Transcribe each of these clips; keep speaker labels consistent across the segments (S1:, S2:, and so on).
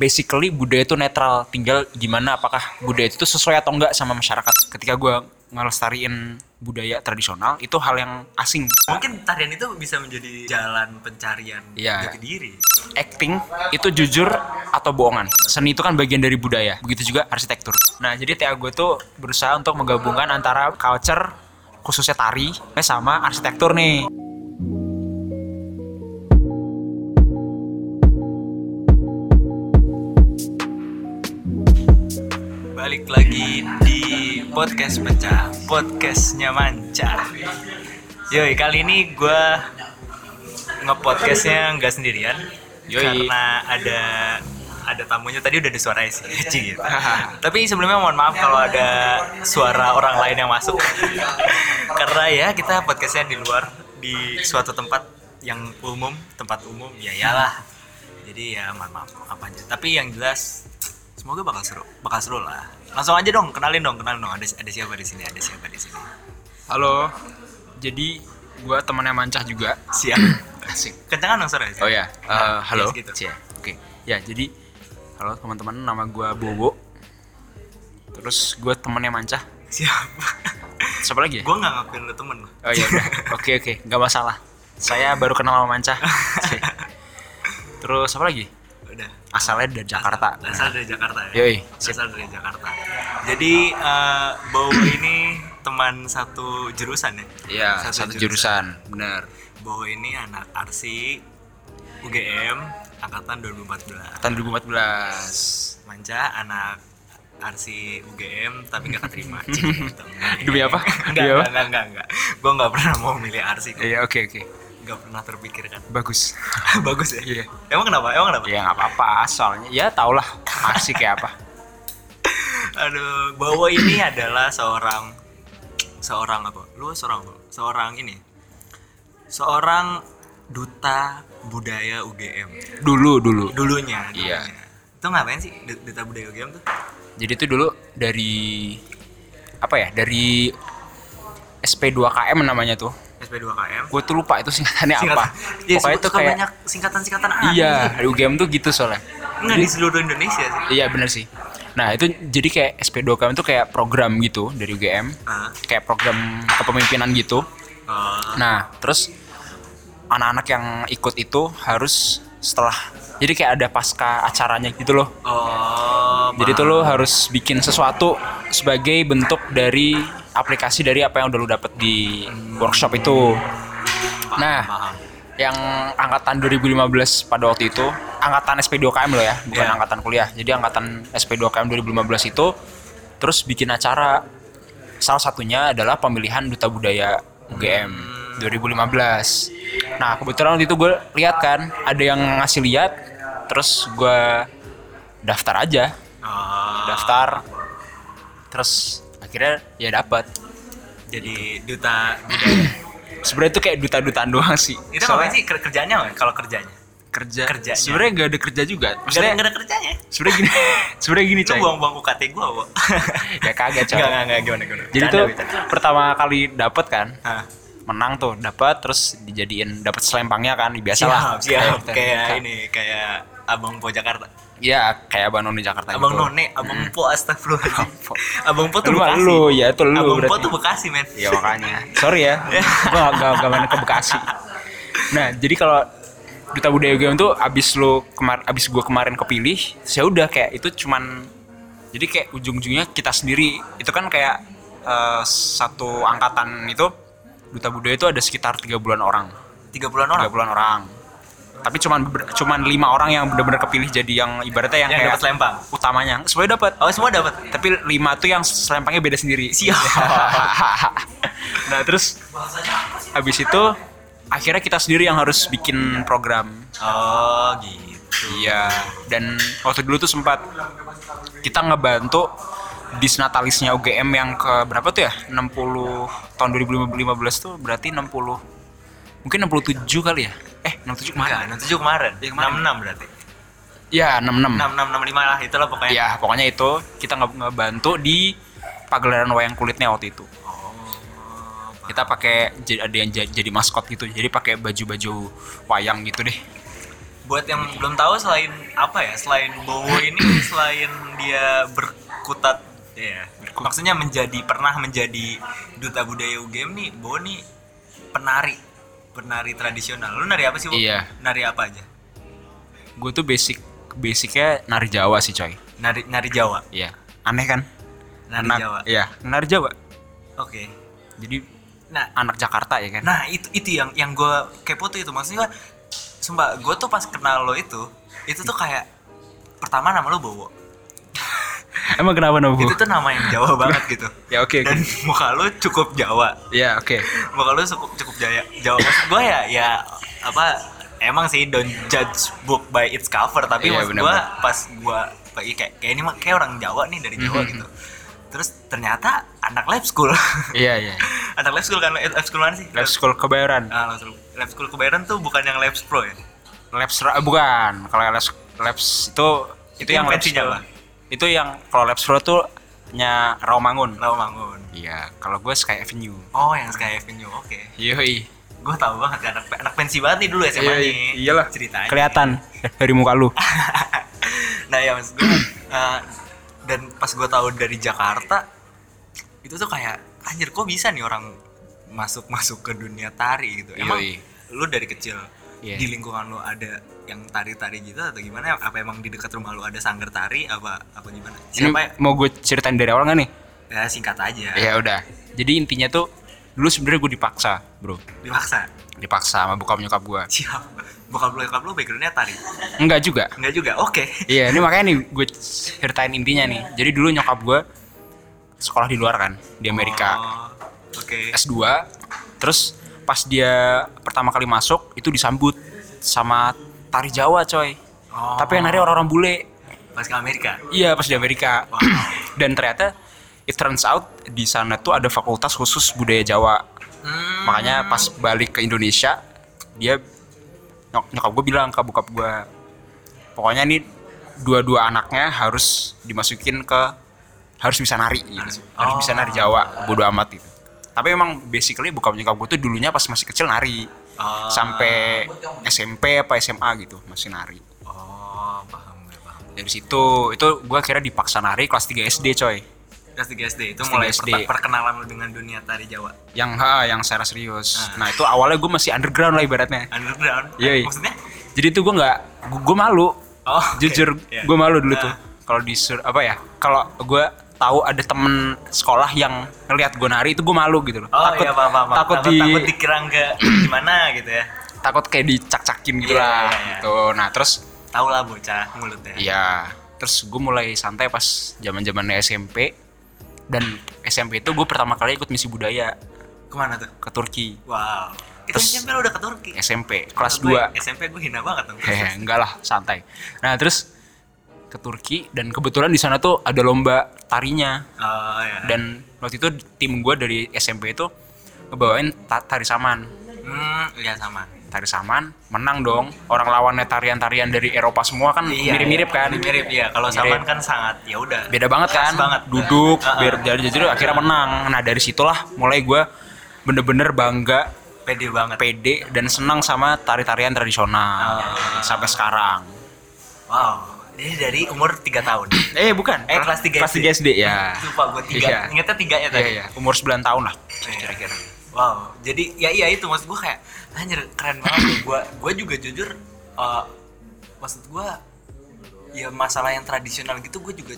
S1: basically budaya itu netral tinggal gimana apakah budaya itu tuh sesuai atau enggak sama masyarakat ketika gua ngelestariin budaya tradisional itu hal yang asing
S2: Mungkin tarian itu bisa menjadi jalan pencarian
S1: Iya.
S2: jati diri.
S1: acting itu jujur atau bohongan. Seni itu kan bagian dari budaya. Begitu juga arsitektur. Nah, jadi TA gue tuh berusaha untuk menggabungkan antara culture khususnya tari eh, sama arsitektur nih.
S2: Balik lagi di podcast pecah, podcastnya manca. Yoi, kali ini gue ngepodcastnya nggak sendirian,
S1: Yoi.
S2: karena ada ada tamunya tadi udah ada suaranya sih, Ci, gitu. Tapi sebelumnya mohon maaf kalau ada suara orang lain yang masuk, karena ya kita podcastnya di luar di suatu tempat yang umum, tempat umum ya iyalah. Jadi ya mohon maaf apa aja. Tapi yang jelas semoga bakal seru, bakal seru lah. Langsung aja dong, kenalin dong, kenalin dong. Ada ada siapa di sini? Ada siapa di sini?
S1: Halo. Jadi gue temannya Mancah juga.
S2: Siap.
S1: Asik.
S2: Kencangan dong suaranya.
S1: Oh ya, eh,
S2: Nah,
S1: halo.
S2: yes, gitu.
S1: Cie. Oke. Ya, jadi halo teman-teman, nama gue Bobo. Terus gue temannya Mancah.
S2: Siap.
S1: Siapa lagi ya?
S2: gue nggak ngakuin lu temen lo.
S1: Oh ya udah. Oke oke, nggak masalah. Saya baru kenal sama Manca. Oke. Terus apa lagi?
S2: Udah.
S1: Asalnya dari Jakarta.
S2: Asal dari Jakarta ya.
S1: Yoi, sip.
S2: Asal dari Jakarta. Jadi eh Bowo ini teman satu jurusan ya.
S1: Iya, satu, jurusan. Benar.
S2: Bowo ini anak arsi UGM angkatan 2014.
S1: Tahun 2014.
S2: Manca anak arsi UGM tapi nggak keterima. Cik, gitu.
S1: Demi apa?
S2: Enggak,
S1: Demi apa?
S2: enggak, enggak, enggak. Gue nggak pernah mau milih arsi. kok.
S1: Iya, oke oke.
S2: Nggak pernah terpikirkan.
S1: Bagus.
S2: Bagus ya.
S1: Iya.
S2: Emang kenapa? Emang kenapa?
S1: Ya nggak apa-apa, soalnya ya tau lah asik kayak apa.
S2: Aduh, Bowo ini adalah seorang seorang apa? Lu seorang apa? Seorang ini. Seorang duta budaya UGM.
S1: Dulu dulu.
S2: Dulunya,
S1: Iya.
S2: dulunya. Itu ngapain sih du- duta budaya UGM tuh?
S1: Jadi itu dulu dari apa ya? Dari SP2KM namanya tuh.
S2: SP2KM.
S1: Gue tuh lupa itu singkatannya
S2: Singkatan-
S1: apa.
S2: Iya,
S1: Pokoknya
S2: suka-
S1: tuh
S2: suka
S1: kayak
S2: banyak singkatan-singkatan aneh.
S1: Iya, di UGM tuh gitu soalnya.
S2: Enggak di seluruh Indonesia sih.
S1: Iya bener sih. Nah itu jadi kayak SP2KM itu kayak program gitu dari UGM,
S2: Ah.
S1: kayak program kepemimpinan gitu.
S2: Oh,
S1: Nah terus anak-anak yang ikut itu harus setelah jadi kayak ada pasca acaranya gitu loh.
S2: oh,
S1: Jadi tuh lo harus bikin sesuatu sebagai bentuk dari aplikasi dari apa yang udah lo dapet di workshop itu.
S2: paham,
S1: Nah,
S2: paham.
S1: yang angkatan 2015 pada waktu itu, angkatan SP2KM lo ya, bukan
S2: Iya.
S1: angkatan kuliah. Jadi angkatan SP2KM 2015 itu terus bikin acara salah satunya adalah pemilihan duta budaya UGM 2015. Nah, kebetulan waktu itu gue lihat kan ada yang ngasih lihat terus gue daftar aja,
S2: Oh,
S1: daftar terus akhirnya ya dapat.
S2: jadi duta budaya.
S1: Sebenarnya itu kayak duta-dutaan doang sih.
S2: Itu
S1: Soalnya-
S2: ngapain sih Ker- kerjanya? apa? Kalau kerjanya?
S1: kerja
S2: Kerjanya.
S1: sebenarnya nggak ada kerja juga
S2: Enggak ada,
S1: maksudnya
S2: nggak ada kerjanya.
S1: sebenarnya gini sebenarnya gini
S2: Itu
S1: coy
S2: buang-buang UKT gua, Bo.
S1: ya kaget coy
S2: Enggak, enggak, enggak, gimana, gimana.
S1: jadi
S2: Bercanda,
S1: tuh
S2: bercanda.
S1: pertama kali dapet kan
S2: Hah.
S1: menang tuh dapat terus dijadiin dapat selempangnya kan biasalah
S2: Siap, siap.
S1: Kayak- gitu.
S2: Kayak
S1: kayak-
S2: ini, kayak Abang Po Jakarta.
S1: ya kayak abang noni Jakarta
S2: Abang
S1: gitu.
S2: None, Abang Po, astagfirullahaladzim.
S1: Po.
S2: Abang Po tuh
S1: Lu mah
S2: Bekasi.
S1: lu, ya, itu lu
S2: Abang Po
S1: berarti.
S2: tuh Bekasi, men.
S1: ya makanya sorry ya gua gak, gak main ke Bekasi nah jadi kalau duta budaya game tuh abis lo kemar abis gua kemarin kepilih saya udah kayak itu cuman jadi kayak ujung-ujungnya kita sendiri itu kan kayak eh, satu angkatan itu duta budaya itu ada sekitar tiga bulan orang
S2: 30-an
S1: tiga
S2: orang.
S1: bulan orang tapi cuman ber- cuman lima orang yang benar-benar kepilih jadi yang ibaratnya yang,
S2: Yang
S1: kayak
S2: dapat lempang.
S1: utamanya semuanya dapat
S2: Oh, semua dapat.
S1: tapi lima tuh yang selempangnya beda sendiri
S2: Siap.
S1: nah terus habis itu akhirnya kita sendiri yang harus bikin program
S2: Oh, gitu.
S1: iya dan waktu dulu tuh sempat kita ngebantu disnatalisnya UGM yang ke berapa tuh ya 60 tahun 2015 tuh berarti 60 mungkin 67 kali ya eh 67
S2: Enggak,
S1: kemana
S2: 67 kemarin.
S1: Ya, kemarin.
S2: 66 berarti.
S1: ya 66
S2: 66, 65 lah, itulah pokoknya.
S1: ya pokoknya itu kita nge- ngebantu di pagelaran wayang kulitnya waktu itu
S2: Oh,
S1: kita pakai jadi ada yang ja- jadi maskot gitu jadi pakai baju-baju wayang gitu deh
S2: buat yang belum tahu selain apa ya selain Bowo ini selain dia berkutat ya maksudnya menjadi pernah menjadi duta budaya UGM nih Bowo nih penari penari tradisional lu nari apa sih Bowo?
S1: Iya.
S2: nari apa aja
S1: Gue tuh basic basicnya nari Jawa sih coy.
S2: nari nari Jawa
S1: Iya. Aneh kan?
S2: nari
S1: Anak-
S2: Jawa oke
S1: Iya. Nari Jawa. Jadi
S2: nah
S1: anak Jakarta ya kan?
S2: Nah itu itu yang yang gue kepo tuh itu maksudnya sumpah gue tuh pas kenal lo itu itu tuh kayak pertama nama lo Bowo
S1: Emang kenapa Nobu?
S2: itu tuh nama yang Jawa banget gitu
S1: Ya oke. oke.
S2: dan muka lo cukup Jawa
S1: Ya oke.
S2: muka lo cukup cukup Jaya Jawa maksud gue ya ya apa emang sih don't judge book by its cover tapi
S1: Iya,
S2: maksud
S1: benar,
S2: gue pas gue kayak kayak ini mah kayak orang Jawa nih dari Jawa
S1: Mhm.
S2: gitu terus ternyata anak lab school
S1: Iya iya.
S2: anak lab school kan Eh, lab school mana sih
S1: Lab school kebayoran.
S2: Ah, lab school lab school kebayaran tuh bukan yang labs pro ya
S1: Labs ra- eh, bukan. Kalau labs labs itu itu,
S2: Itu yang
S1: yang labs
S2: fancy
S1: pro.
S2: Jawa.
S1: Itu yang kalau labs pro tuh punya Rawamangun.
S2: Rawamangun.
S1: Iya, kalau gue Sky Avenue.
S2: Oh, yang Sky Avenue. Oke.
S1: Yoi.
S2: Gue tahu banget anak anak pensi banget nih dulu SMA nih.
S1: Iya, iyalah.
S2: Ceritanya.
S1: Kelihatan dari muka lu.
S2: nah, ya maksud gue eh, dan pas gue tahu dari Jakarta itu tuh kayak anjir kok bisa nih orang masuk-masuk ke dunia tari gitu. Emang
S1: Yoi.
S2: lu dari kecil
S1: Iya.
S2: di lingkungan lu ada yang tari-tari gitu atau gimana? Apa emang di dekat rumah lu ada sanggar tari apa apa gimana?
S1: Ini
S2: Siapa ya?
S1: mau gue ceritain dari awal nggak nih?
S2: Ya, singkat aja.
S1: Ya udah. Jadi intinya tuh dulu sebenarnya gue dipaksa, bro.
S2: Dipaksa.
S1: Dipaksa sama bokap nyokap gue.
S2: Siap. Bokap lu nyokap lu backgroundnya tari.
S1: Enggak juga.
S2: Enggak juga. Oke.
S1: Iya, ini makanya nih gue ceritain intinya nih. Jadi dulu nyokap gue sekolah di luar kan, di Amerika.
S2: Oh, Oke.
S1: S2. Terus pas dia pertama kali masuk itu disambut sama tari Jawa, coy.
S2: Oh.
S1: Tapi yang nari orang-orang bule.
S2: Pas ke Amerika.
S1: Iya, pas di Amerika.
S2: Wow.
S1: Dan ternyata it turns out di sana tuh ada fakultas khusus budaya Jawa.
S2: Hmm.
S1: Makanya pas balik ke Indonesia, dia nyok- nyokap gue bilang ke bokap gue, pokoknya nih dua-dua anaknya harus dimasukin ke harus bisa nari, gitu. harus,
S2: Harus-
S1: bisa nari Jawa, bodo amat gitu. Tapi emang basically bokap nyokap gue tuh dulunya pas masih kecil nari,
S2: Ah.
S1: sampai SMP apa SMA gitu masih nari.
S2: Oh, paham gue, paham.
S1: Dari situ itu gue akhirnya dipaksa nari kelas 3 SD coy,
S2: Kelas 3 SD itu
S1: Kelas 3
S2: mulai
S1: SD.
S2: perta- perkenalan lu dengan dunia tari Jawa.
S1: yang ha yang secara serius. Nah itu awalnya gue masih underground lah ibaratnya.
S2: Underground. Eh,
S1: Iya, iya.
S2: Maksudnya?
S1: Jadi tuh gue nggak, gue malu
S2: Oh, oke.
S1: jujur
S2: Iya.
S1: gue malu dulu
S2: Nah,
S1: tuh kalau di apa ya kalau gue tahu ada temen sekolah yang ngelihat gue nari itu gue malu gitu loh
S2: Oh,
S1: takut
S2: iya, paham, paham.
S1: takut,
S2: takut,
S1: di
S2: takut dikira nggak gimana gitu ya.
S1: takut kayak dicak-cakin gitu
S2: Iya,
S1: lah
S2: iya, iya.
S1: gitu nah terus
S2: Tahu lah bocah mulutnya.
S1: ya terus gue mulai santai pas zaman zamannya SMP dan SMP itu gue pertama kali ikut misi budaya
S2: Kemana tuh?
S1: ke Turki
S2: Wow. Itu
S1: Terus-
S2: SMP lu udah ke Turki.
S1: SMP kelas
S2: Gue-
S1: 2
S2: SMP gue hina banget dong.
S1: Hehe, enggak lah santai nah terus ke Turki dan kebetulan di sana tuh ada lomba tarinya
S2: Oh, ya.
S1: dan waktu itu tim gue dari SMP itu ngebawain ta- tari saman
S2: Hmm, iya sama.
S1: tari saman menang dong orang lawannya tarian-tarian dari Eropa semua kan mirip-mirip kan
S2: Iya, Mirip ya. Kalau
S1: Mirip.
S2: saman kan sangat ya udah.
S1: beda banget kan
S2: Khas banget. Iya.
S1: duduk
S2: Heeh.
S1: biar jadi jadi akhirnya menang nah dari situlah mulai gue bener-bener bangga
S2: Pede banget.
S1: pede dan senang sama tari-tarian tradisional
S2: Ah.
S1: sampai sekarang
S2: Wow. Jadi dari umur 3 tahun.
S1: eh bukan
S2: Eh, kelas tiga
S1: kelas
S2: SD.
S1: 3 SD ya
S2: Lupa gue tiga.
S1: Iya.
S2: Ingatnya tiga
S1: Iya,
S2: ya tadi.
S1: iya. umur 9 tahun lah
S2: Iya.
S1: kira-kira
S2: Wow. Jadi ya iya itu maksud gue kayak anjir keren banget. gue gue juga jujur eh, maksud gue ya masalah yang tradisional gitu gue juga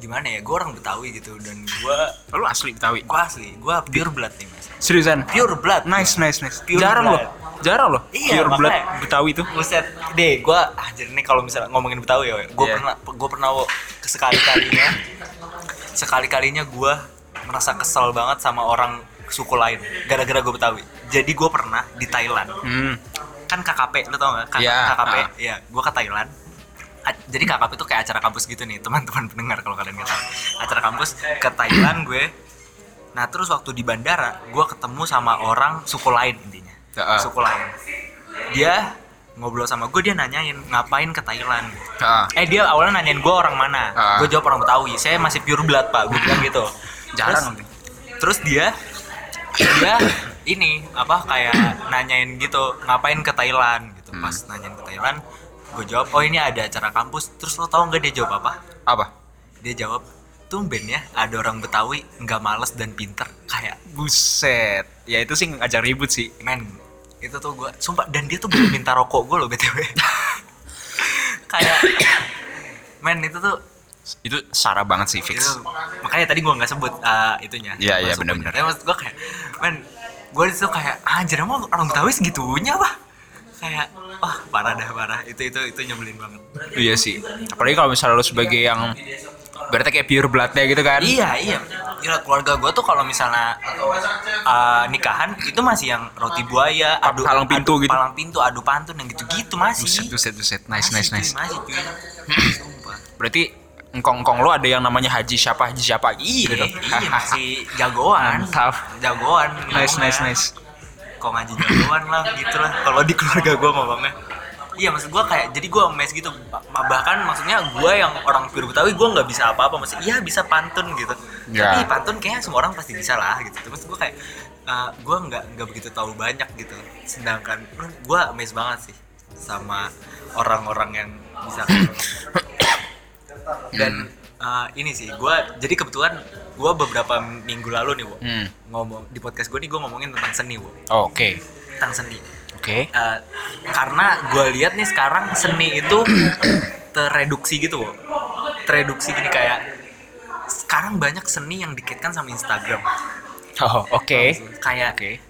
S2: gimana ya gue orang Betawi gitu dan gue
S1: lu asli Betawi
S2: gue asli gue pure blood nih mas
S1: seriusan
S2: pure blood
S1: Nice, nice, nice.
S2: Pure
S1: jarang
S2: blood.
S1: loh, jarang loh.
S2: Iya,
S1: Pure blood
S2: makanya.
S1: Betawi itu.
S2: Buset deh, gue anjir nih kalau misalnya ngomongin Betawi ya, gue
S1: Iya.
S2: pernah gue pernah sekali kalinya sekali kalinya gue merasa kesel banget sama orang suku lain gara-gara gue Betawi. Jadi gue pernah di Thailand
S1: Hmm.
S2: kan KKP lu tau gak? K-
S1: Iya,
S2: KKP,
S1: ah.
S2: ya gue ke Thailand. A- Jadi KKP itu kayak acara kampus gitu nih teman-teman pendengar kalau kalian nggak tahu. Acara kampus ke Thailand gue. Nah terus waktu di bandara gue ketemu sama orang suku lain intinya,
S1: Ya, ah.
S2: suku lain. Dia ngobrol sama gue dia nanyain ngapain ke Thailand.
S1: Ah.
S2: Eh dia awalnya nanyain gue orang mana,
S1: Ah.
S2: gue jawab orang Betawi. Saya masih pure blood pak, gue bilang gitu.
S1: Jarang
S2: Terus, terus dia dia ini apa kayak nanyain gitu ngapain ke Thailand gitu
S1: Hmm.
S2: pas nanyain ke Thailand gue jawab oh ini ada acara kampus terus lo tau nggak dia jawab apa
S1: Apa?
S2: dia jawab tumben ya ada orang Betawi nggak males dan pinter kayak
S1: Buset. Ya itu sih ngajak ribut sih.
S2: men itu tuh gue sumpah dan dia tuh belum minta rokok gue loh btw kayak men itu tuh
S1: Itu Sarah banget sih
S2: itu
S1: fix.
S2: Iya. makanya tadi gue nggak sebut eh, itunya
S1: Iya, iya,
S2: masuk
S1: benar-benar.
S2: Tapi maksud gue kayak men gue disitu kayak "Ah, anjir emang orang Betawi segitunya apa kayak wah parah dah parah itu itu itu nyebelin banget
S1: Iya sih. Apalagi kalau misalnya lu sebagai yang berarti kayak pure bloodnya gitu kan?
S2: Iya iya. Gila keluarga gue tuh kalau misalnya uh, nikahan itu masih yang roti buaya,
S1: Pa- palang pintu
S2: adu-
S1: gitu.
S2: palang pintu, adu pantun yang gitu-gitu masih.
S1: Buset, buset, buset. Nice, nice,
S2: Masih, cuy,
S1: nice.
S2: Masih cuy. Sumpah.
S1: Berarti engkong-engkong lu ada yang namanya Haji siapa, Haji siapa
S2: Iya,
S1: gitu. dong.
S2: iya masih jagoan.
S1: Mantap.
S2: Jagoan.
S1: nice, nice,
S2: ngomongnya.
S1: nice.
S2: Kok ngaji jagoan lah gitu lah. Kalau di keluarga gue ngomongnya. Iya maksud gue kayak jadi gue mes gitu Bah- bahkan maksudnya gue yang orang Pure Betawi gue nggak bisa apa-apa maksudnya iya bisa pantun gitu
S1: Ya.
S2: tapi pantun kayaknya semua orang pasti bisa lah gitu terus gue kayak eh, gue nggak nggak begitu tahu banyak gitu sedangkan gue mes banget sih sama orang-orang yang bisa
S1: Hmm.
S2: dan eh, ini sih gue jadi kebetulan gue beberapa minggu lalu nih Wo,
S1: Hmm.
S2: ngomong di podcast gue nih gue ngomongin tentang seni Wo.
S1: Oke.
S2: tentang seni
S1: Oke.
S2: Eh, karena gue lihat nih sekarang seni itu tereduksi gitu Wo. tereduksi gini kayak sekarang banyak seni yang dikaitkan sama Instagram
S1: Oh, oke.
S2: kayak
S1: Oke.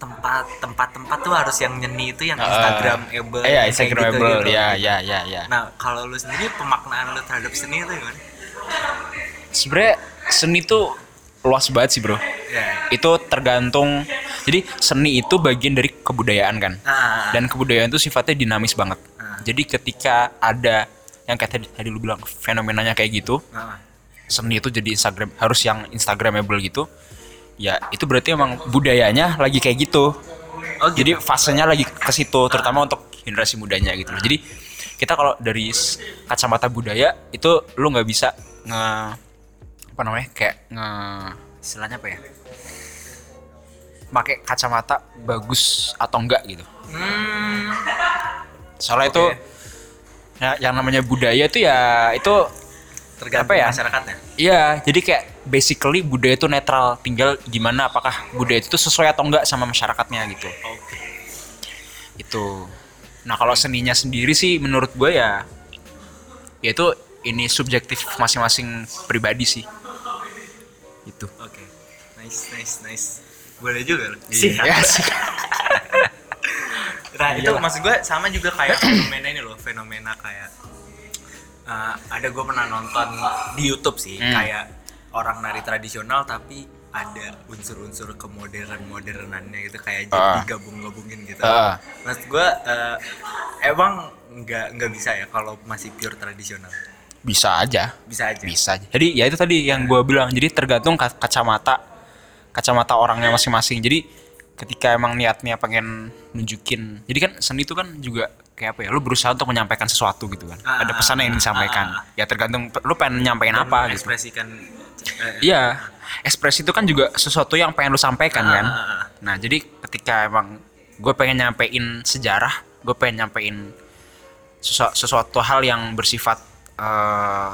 S2: tempat tempat tempat tuh harus yang nyeni itu yang
S1: Nah,
S2: Instagramable
S1: Eh, ya,
S2: kayak
S1: Ah, Instagramable.
S2: gitu-gitu.
S1: Ya, ya, ya, ya.
S2: nah kalau lu sendiri pemaknaan lu terhadap seni itu gimana
S1: Sebenarnya seni tuh luas banget sih, Bro.
S2: ya
S1: Itu tergantung jadi seni itu bagian dari kebudayaan kan.
S2: Ah.
S1: Dan kebudayaan itu sifatnya dinamis banget.
S2: Ah.
S1: Jadi ketika ada yang kayak tadi, tadi lu bilang fenomenanya kayak gitu,
S2: Ah.
S1: seni itu jadi Instagram harus yang Instagramable gitu. Ya, itu berarti emang budayanya lagi kayak gitu.
S2: oh gitu
S1: jadi fasenya lagi ke situ terutama untuk generasi mudanya gitu loh. jadi kita kalau dari s- kacamata budaya itu lu nggak bisa nge apa namanya kayak nge istilahnya apa ya pakai kacamata bagus atau enggak gitu
S2: hmm,
S1: soalnya itu ya, yang namanya budaya itu ya itu
S2: tergantung
S1: Apa ya?
S2: masyarakatnya
S1: Iya, jadi kayak basically budaya itu netral, tinggal gimana apakah budaya itu sesuai atau enggak sama masyarakatnya gitu.
S2: oke
S1: itu nah kalau seninya sendiri sih menurut gue ya yaitu ini subjektif masing-masing pribadi sih Gitu. itu
S2: oke nice nice nice boleh juga loh
S1: Iya sih
S2: Nah itu
S1: Iyalah.
S2: maksud gue sama juga kayak fenomena ini loh fenomena kayak eh, ada gue pernah nonton di YouTube sih
S1: Hmm.
S2: kayak orang nari tradisional tapi ada unsur-unsur kemodern-modernannya gitu kayak jadi
S1: Ah.
S2: digabung-gabungin gitu.
S1: Ah.
S2: Maksud gue eh, emang nggak nggak bisa ya kalau masih pure tradisional
S1: bisa aja
S2: bisa aja.
S1: bisa aja. jadi ya itu tadi yang gue bilang jadi tergantung ka- kacamata kacamata orangnya masing-masing jadi ketika emang niatnya pengen nunjukin jadi kan seni itu kan juga kayak apa ya lu berusaha untuk menyampaikan sesuatu gitu kan
S2: Ah,
S1: ada pesan yang ingin disampaikan
S2: ah,
S1: ya tergantung pe- lu pengen nyampein
S2: Dan
S1: apa gitu
S2: Ekspresikan. eh,
S1: Iya, ekspresi itu kan juga sesuatu yang pengen lu sampaikan kan.
S2: Ah, ah, ah.
S1: Nah, jadi ketika emang gue pengen nyampein sejarah, gue pengen nyampein sesu- sesuatu hal yang bersifat eh,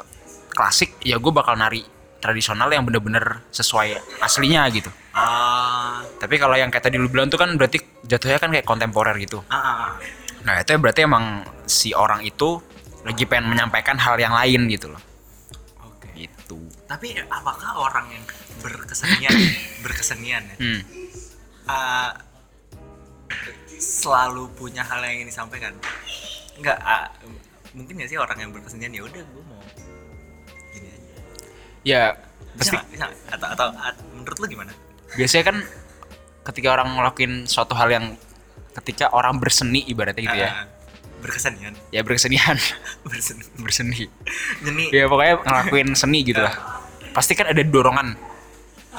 S1: klasik, ya gue bakal nari tradisional yang bener-bener sesuai aslinya gitu.
S2: ah,
S1: Tapi kalau yang kayak tadi lu bilang tuh kan berarti jatuhnya kan kayak kontemporer gitu.
S2: ah, ah, ah.
S1: Nah, itu berarti emang si orang itu lagi pengen menyampaikan hal yang lain gitu loh.
S2: Oke.
S1: Gitu.
S2: Tapi apakah orang yang berkesenian, berkesenian ya,
S1: Hmm.
S2: eh, selalu punya hal yang ingin disampaikan? Enggak, ah, mungkin nggak sih orang yang berkesenian ya udah gue mau gini aja.
S1: Ya,
S2: Bisa
S1: pasti
S2: nggak? Bisa nggak? Atau, atau at- menurut lu gimana?
S1: biasanya kan ketika orang ngelakuin suatu hal yang ketika orang berseni ibaratnya gitu ya
S2: Ah, berkesenian,
S1: ya bersenian
S2: berseni,
S1: berseni
S2: nyeni.
S1: ya pokoknya ngelakuin seni gitu lah pasti kan ada dorongan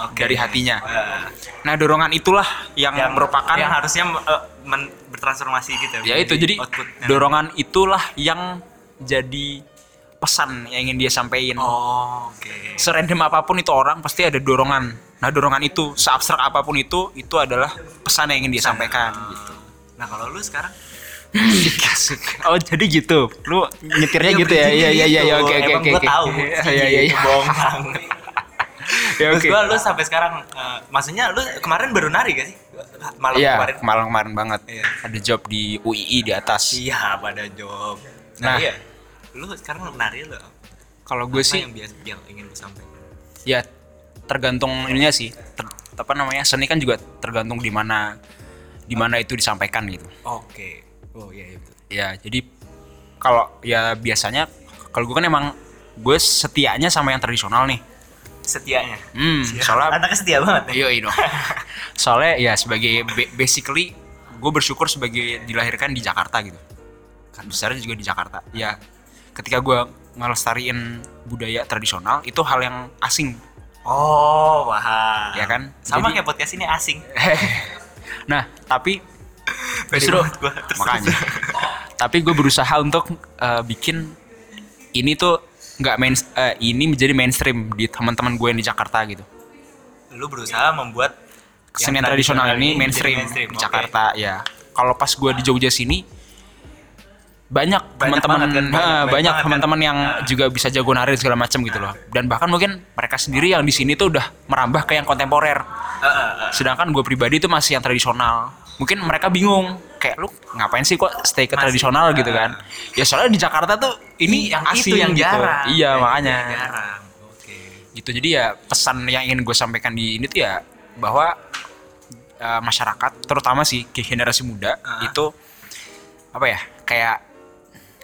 S2: Oke.
S1: dari hatinya
S2: Ah,
S1: nah dorongan itulah yang,
S2: yang
S1: merupakan
S2: yang harusnya eh, men- bertransformasi gitu.
S1: ya itu jadi
S2: outputnya.
S1: dorongan itulah yang jadi pesan yang ingin dia sampaikan
S2: Oh, oke.
S1: serandom apapun itu orang pasti ada dorongan nah dorongan itu seabstrak apapun itu itu adalah pesan yang ingin dia sampaikan gitu
S2: Nah, kalau lu sekarang
S1: Asik, asik. Oh jadi gitu, lu nyetirnya
S2: Iya,
S1: gitu ya?
S2: bridging-nya
S1: Iya iya iya
S2: gitu.
S1: oke oke
S2: Emang
S1: oke.
S2: gua
S1: oke.
S2: tahu.
S1: Iya iya iya.
S2: Bohong banget.
S1: Ya,
S2: Terus
S1: Oke.
S2: gua lu sampai sekarang eh, maksudnya lu kemarin baru nari gak sih? Malam
S1: Iya
S2: kemarin.
S1: kemarin kemarin banget.
S2: Iya.
S1: Ada job di UII di atas.
S2: Iya, pada job.
S1: Nah.
S2: Nah, iya. Lu sekarang nari lu. apa
S1: Kalau gue sih
S2: yang biasa yang ingin lu sampaikan?
S1: ya tergantung ininya sih. Ter- apa namanya seni kan juga tergantung di mana di mana itu disampaikan gitu.
S2: Oke. Oh iya iya betul.
S1: Ya jadi kalau ya biasanya kalau gue kan emang gue setianya sama yang tradisional nih.
S2: Setianya.
S1: Hmm,
S2: Iya.
S1: soalnya
S2: anaknya setia banget ya? nih.
S1: Iya dong. Soalnya ya sebagai ba- basically gue bersyukur sebagai dilahirkan di Jakarta gitu. Kan besarnya juga di Jakarta. Ya ketika gue ngelestariin budaya tradisional itu hal yang asing.
S2: Oh, wah.
S1: Iya kan?
S2: Sama
S1: Jadi-
S2: kayak podcast ini asing.
S1: nah tapi
S2: Pede
S1: Justru-
S2: banget gua. Terus-
S1: makanya. tapi gue berusaha untuk eh, bikin ini tuh nggak main eh, ini menjadi mainstream di teman-teman gue yang di Jakarta gitu.
S2: lu berusaha membuat
S1: kesenian
S2: yang
S1: tradisional ini
S2: jadi
S1: mainstream, di
S2: oke.
S1: Jakarta ya. Kalau pas gua di Jogja sini banyak
S2: Banyak
S1: teman-teman
S2: banget kan,
S1: eh,
S2: banyak- banyak
S1: banyak
S2: banget kan.
S1: teman-teman yang
S2: Nah.
S1: juga bisa jago nari dan segala macam gitu loh. Dan bahkan mungkin mereka sendiri yang di sini tuh udah merambah ke yang kontemporer.
S2: Eh, eh, eh.
S1: Sedangkan gue pribadi tuh masih yang tradisional. Mungkin mereka bingung kayak lu ngapain sih kok stay ke
S2: Masih,
S1: tradisional gitu
S2: eh.
S1: kan. Ya soalnya di Jakarta tuh ini yang
S2: Iya, Itu
S1: asing
S2: yang
S1: gitu.
S2: jarang.
S1: Iya,
S2: Yang
S1: makanya
S2: jarang. Oke.
S1: gitu jadi ya pesan yang ingin gue sampaikan di ini tuh ya bahwa eh, masyarakat terutama sih ke generasi muda
S2: Ah.
S1: itu apa ya kayak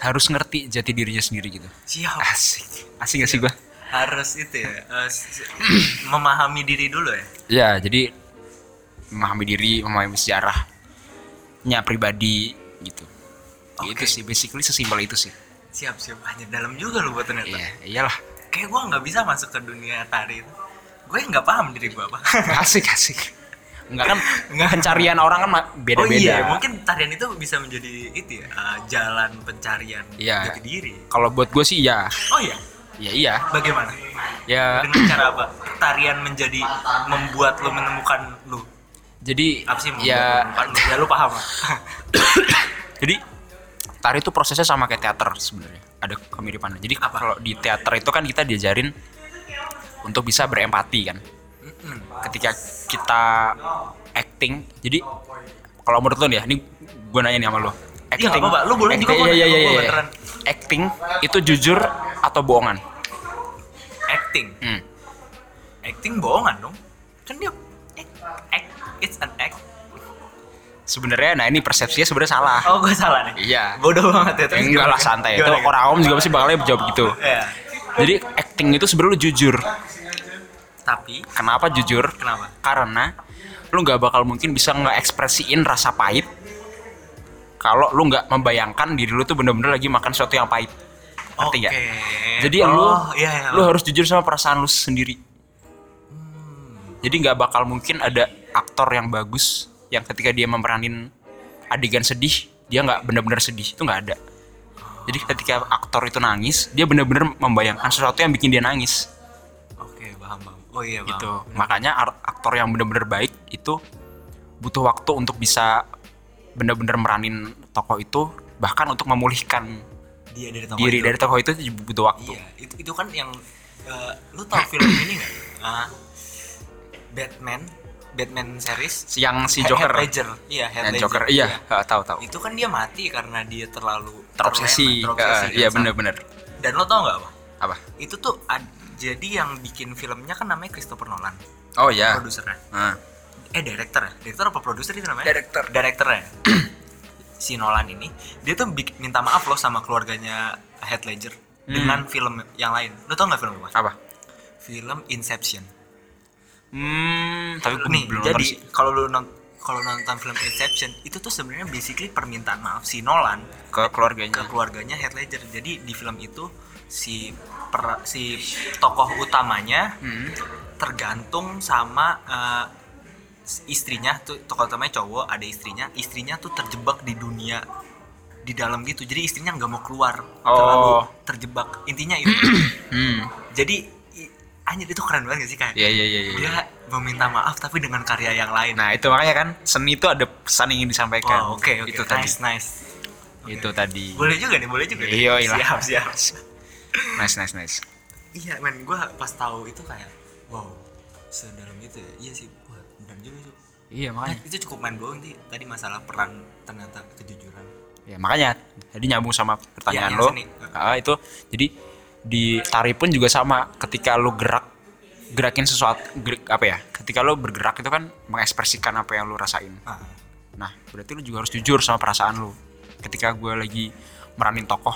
S1: harus ngerti jati dirinya sendiri gitu
S2: Siap.
S1: asik asik gak sih gue
S2: Harus itu ya. eh, s- s- memahami diri dulu ya.
S1: ya jadi memahami diri memahami sejarahnya pribadi gitu itu
S2: Oke.
S1: sih basically sesimpel itu sih
S2: Siap, siap. Hanya dalam juga lu buat ternyata.
S1: iya iyalah
S2: Kayak gua nggak bisa masuk ke dunia tari itu. Gue nggak paham diri gua apa.
S1: asik asik Enggak kan
S2: Enggak.
S1: pencarian orang kan ma-
S2: Oh
S1: beda-beda
S2: iya, mungkin tarian itu bisa menjadi itu ya, eh, jalan pencarian
S1: Iya.
S2: jati diri.
S1: kalau buat gue sih ya
S2: Oh iya,
S1: ya iya
S2: bagaimana?
S1: ya
S2: Dengan cara apa? Tarian menjadi membuat lu menemukan lu.
S1: jadi
S2: Apa sih membuat lu
S1: ya
S2: menemukan lu? Ya lu paham lah.
S1: jadi tari itu prosesnya sama kayak teater sebenarnya ada kemiripannya jadi
S2: Apa?
S1: kalau di teater itu kan kita diajarin untuk bisa berempati kan
S2: Hmm,
S1: ketika kita acting jadi kalau menurut lo nih ya ini gue nanya nih sama lo
S2: Iya, nggak apa-apa. Lu boleh juga,
S1: acting,
S2: gua
S1: iya, iya, iya,
S2: nanya sama
S1: iya.
S2: gua, beneran.
S1: acting itu jujur atau bohongan
S2: Acting.
S1: Hmm.
S2: Acting bohongan dong. Kan dia act, act. it's an act.
S1: sebenarnya nah ini persepsinya sebenarnya salah
S2: Oh, gue salah nih.
S1: Iya.
S2: Bodoh banget ya.
S1: Ya, enggak lah santai itu
S2: Gimana? kan?
S1: orang awam juga pasti bakalnya jawab gitu
S2: Iya.
S1: jadi acting itu sebenarnya lu jujur
S2: Tapi
S1: kenapa jujur
S2: kenapa?
S1: karena lu nggak bakal mungkin bisa ngeekspresiin rasa pahit kalau lu nggak membayangkan diri lu tuh bener-bener lagi makan sesuatu yang pahit ngerti nggak?
S2: Oke.
S1: jadi
S2: oh,
S1: lu
S2: iya, iya.
S1: lu harus jujur sama perasaan lu sendiri
S2: Hmm.
S1: jadi nggak bakal mungkin ada aktor yang bagus yang ketika dia memperanin adegan sedih dia nggak bener-bener sedih itu nggak ada jadi ketika aktor itu nangis dia bener-bener membayangkan sesuatu yang bikin dia nangis
S2: Oke, paham, paham. Oh iya, paham.
S1: gitu makanya ar- aktor yang bener-bener baik itu butuh waktu untuk bisa bener-bener meranin tokoh itu bahkan untuk memulihkan
S2: Dia dari tokoh
S1: diri
S2: itu.
S1: dari tokoh itu juga butuh waktu
S2: Iya, itu itu kan yang eh, lu tau film ini nggak? Ah, Batman, Batman series.
S1: yang si
S2: Heath
S1: Joker
S2: Iya. Ledger. Iya, Heath
S1: yang
S2: Ledger.
S1: Joker iya eh, tahu tahu
S2: Itu kan dia mati karena dia terlalu
S1: terobsesi
S2: terlena,
S1: eh,
S2: terobsesi
S1: iya
S2: kan,
S1: bener-bener
S2: sama- Dan lo tau nggak apa?
S1: apa
S2: Itu tuh ad- jadi yang bikin filmnya kan namanya Christopher Nolan,
S1: oh ya
S2: produsernya.
S1: Ah.
S2: Eh, director ya? Director apa produser itu namanya?
S1: Director.
S2: Directornya. si Nolan ini, dia tuh bik- minta maaf loh sama keluarganya Heath Ledger
S1: Hmm.
S2: dengan film yang lain. Lo tau nggak film apa?
S1: apa
S2: Film Inception.
S1: hmm tapi gue
S2: nih
S1: belum nonton
S2: jadi
S1: sih.
S2: kalau lu non- kalau nonton film Inception itu tuh sebenarnya basically permintaan maaf si Nolan
S1: ke keluarganya
S2: ke keluarganya Heath Ledger jadi di film itu si per- si tokoh utamanya
S1: Hmm.
S2: tergantung sama eh, istrinya tuh tokoh utamanya cowok ada istrinya istrinya tuh terjebak di dunia di dalam gitu jadi istrinya nggak mau keluar terlalu
S1: Oh.
S2: terjebak intinya itu
S1: hmm
S2: jadi i- anjir itu keren banget gak sih kayak
S1: iya iya iya iya.
S2: dia meminta maaf tapi dengan karya yang lain
S1: nah itu makanya kan seni itu ada pesan yang ingin disampaikan
S2: Oh, oke oke.
S1: itu
S2: nice,
S1: tadi
S2: nice.
S1: Itu tadi.
S2: Boleh juga nih, boleh juga. nih.
S1: Iya iya.
S2: Gitu Siap, siap.
S1: Nice nice nice.
S2: Iya, men, gua pas tahu itu kayak wow, sedalam itu ya. Iya sih, wah, benar juga sih.
S1: Iya
S2: Nah,
S1: makanya.
S2: itu cukup main blowing sih. Tadi masalah perang ternyata kejujuran.
S1: Ya makanya. Jadi nyambung sama pertanyaan
S2: yang
S1: lo.
S2: seni.
S1: Ah, itu jadi di tari pun juga sama. Ketika lo gerak gerakin sesuatu gerak, apa ya? Ketika lo bergerak itu kan mengekspresikan apa yang lo rasain.
S2: Ah,
S1: Nah, berarti lu juga harus jujur sama perasaan lu. Ketika gue lagi meranin tokoh,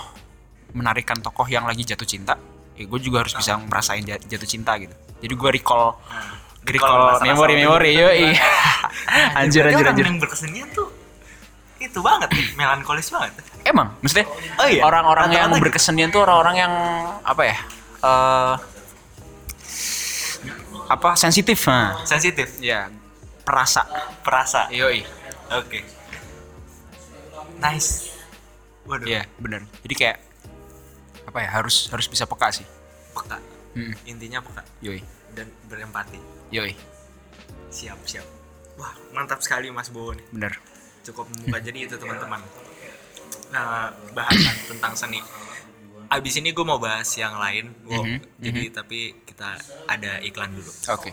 S1: menarikan tokoh yang lagi jatuh cinta, eh gue juga harus bisa merasain ja- jatuh cinta gitu. Jadi gue recall,
S2: ah. Recall
S1: recall
S2: rasa-rasa
S1: memori
S2: lu
S1: memori,
S2: gitu.
S1: yoi. anjir
S2: Berarti
S1: anjir
S2: orang
S1: anjir.
S2: yang berkesenian tuh itu banget, melankolis banget.
S1: Emang, maksudnya
S2: Oh iya,
S1: orang-orang yang
S2: rata-rata gitu.
S1: berkesenian tuh orang-orang yang apa ya? eh apa sensitif? Nah.
S2: Sensitif,
S1: Ya, perasa.
S2: perasa.
S1: Yoi.
S2: Oke. Nice. Waduh,
S1: Iya, bener. Jadi kayak apa ya? Harus harus bisa peka sih.
S2: peka.
S1: Mm.
S2: Intinya peka
S1: Yoi.
S2: dan berempati.
S1: Yoi,
S2: Siap, siap. Wah, mantap sekali Mas Bowo nih.
S1: bener.
S2: Cukup membuka jadi itu teman-teman. Nah, bahasan tentang seni. Abis ini gue mau bahas yang lain, Wo.
S1: Mhm,
S2: Jadi tapi kita ada iklan dulu.
S1: Oke.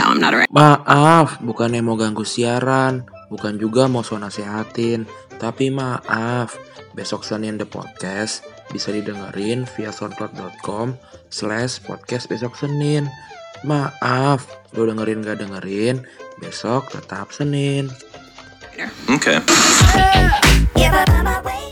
S3: No, I'm not around.
S4: Maaf, bukannya mau ganggu siaran, bukan juga mau so nasehatin, tapi maaf, besok Senin The Podcast bisa didengerin via soundcloud.com slash podcast besok Senin. Maaf, lo dengerin gak dengerin, besok tetap Senin.
S5: Okay.
S6: Yeah, but I'm away.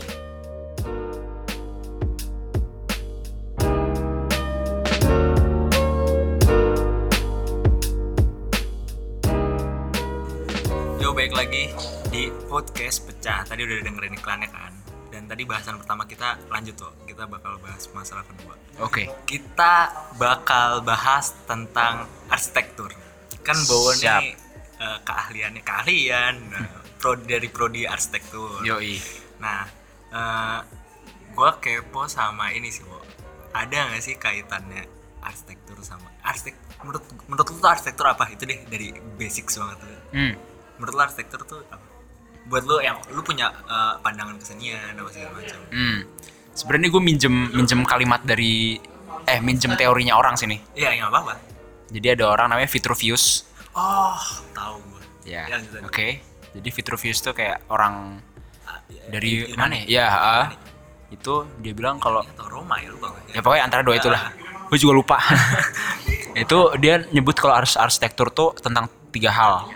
S2: Yo, baik lagi di podcast pecah. Tadi udah dengerin iklannya kan. Dan tadi bahasan pertama kita lanjut tuh. Kita bakal bahas masalah kedua.
S1: Oke.
S2: Kita bakal bahas tentang arsitektur. Kan Bowo
S1: Siap.
S2: nih eh, keahliannya keahlian nah, prodi dari prodi arsitektur.
S1: Yoi.
S2: Nah, eh, gua kepo sama ini sih, Bo. Ada nggak sih kaitannya arsitektur sama arsitek? Menurut menurut lu tuh arsitektur apa? Itu deh dari basic banget tuh
S1: Hmm.
S2: menurut lo arsitektur tuh apa? buat lo yang lu punya eh, pandangan kesenian apa segala macam
S1: Hmm. Sebenarnya gue minjem minjem kalimat dari eh minjem teorinya orang sini.
S2: iya nggak apa apa
S1: Jadi ada orang namanya Vitruvius.
S2: oh tahu gue
S1: Ya.
S2: Iya, lanjut, lanjut.
S1: Oke. Jadi Vitruvius tuh kayak orang
S2: ah, iya. Eh,
S1: dari
S2: Yunani.
S1: mana ya? Ya. ah. itu dia bilang kalau
S2: atau Roma ya lu bang
S1: ya pokoknya antara dua itulah. Gue juga lupa. itu dia nyebut kalau ars arsitektur tuh tentang tiga hal.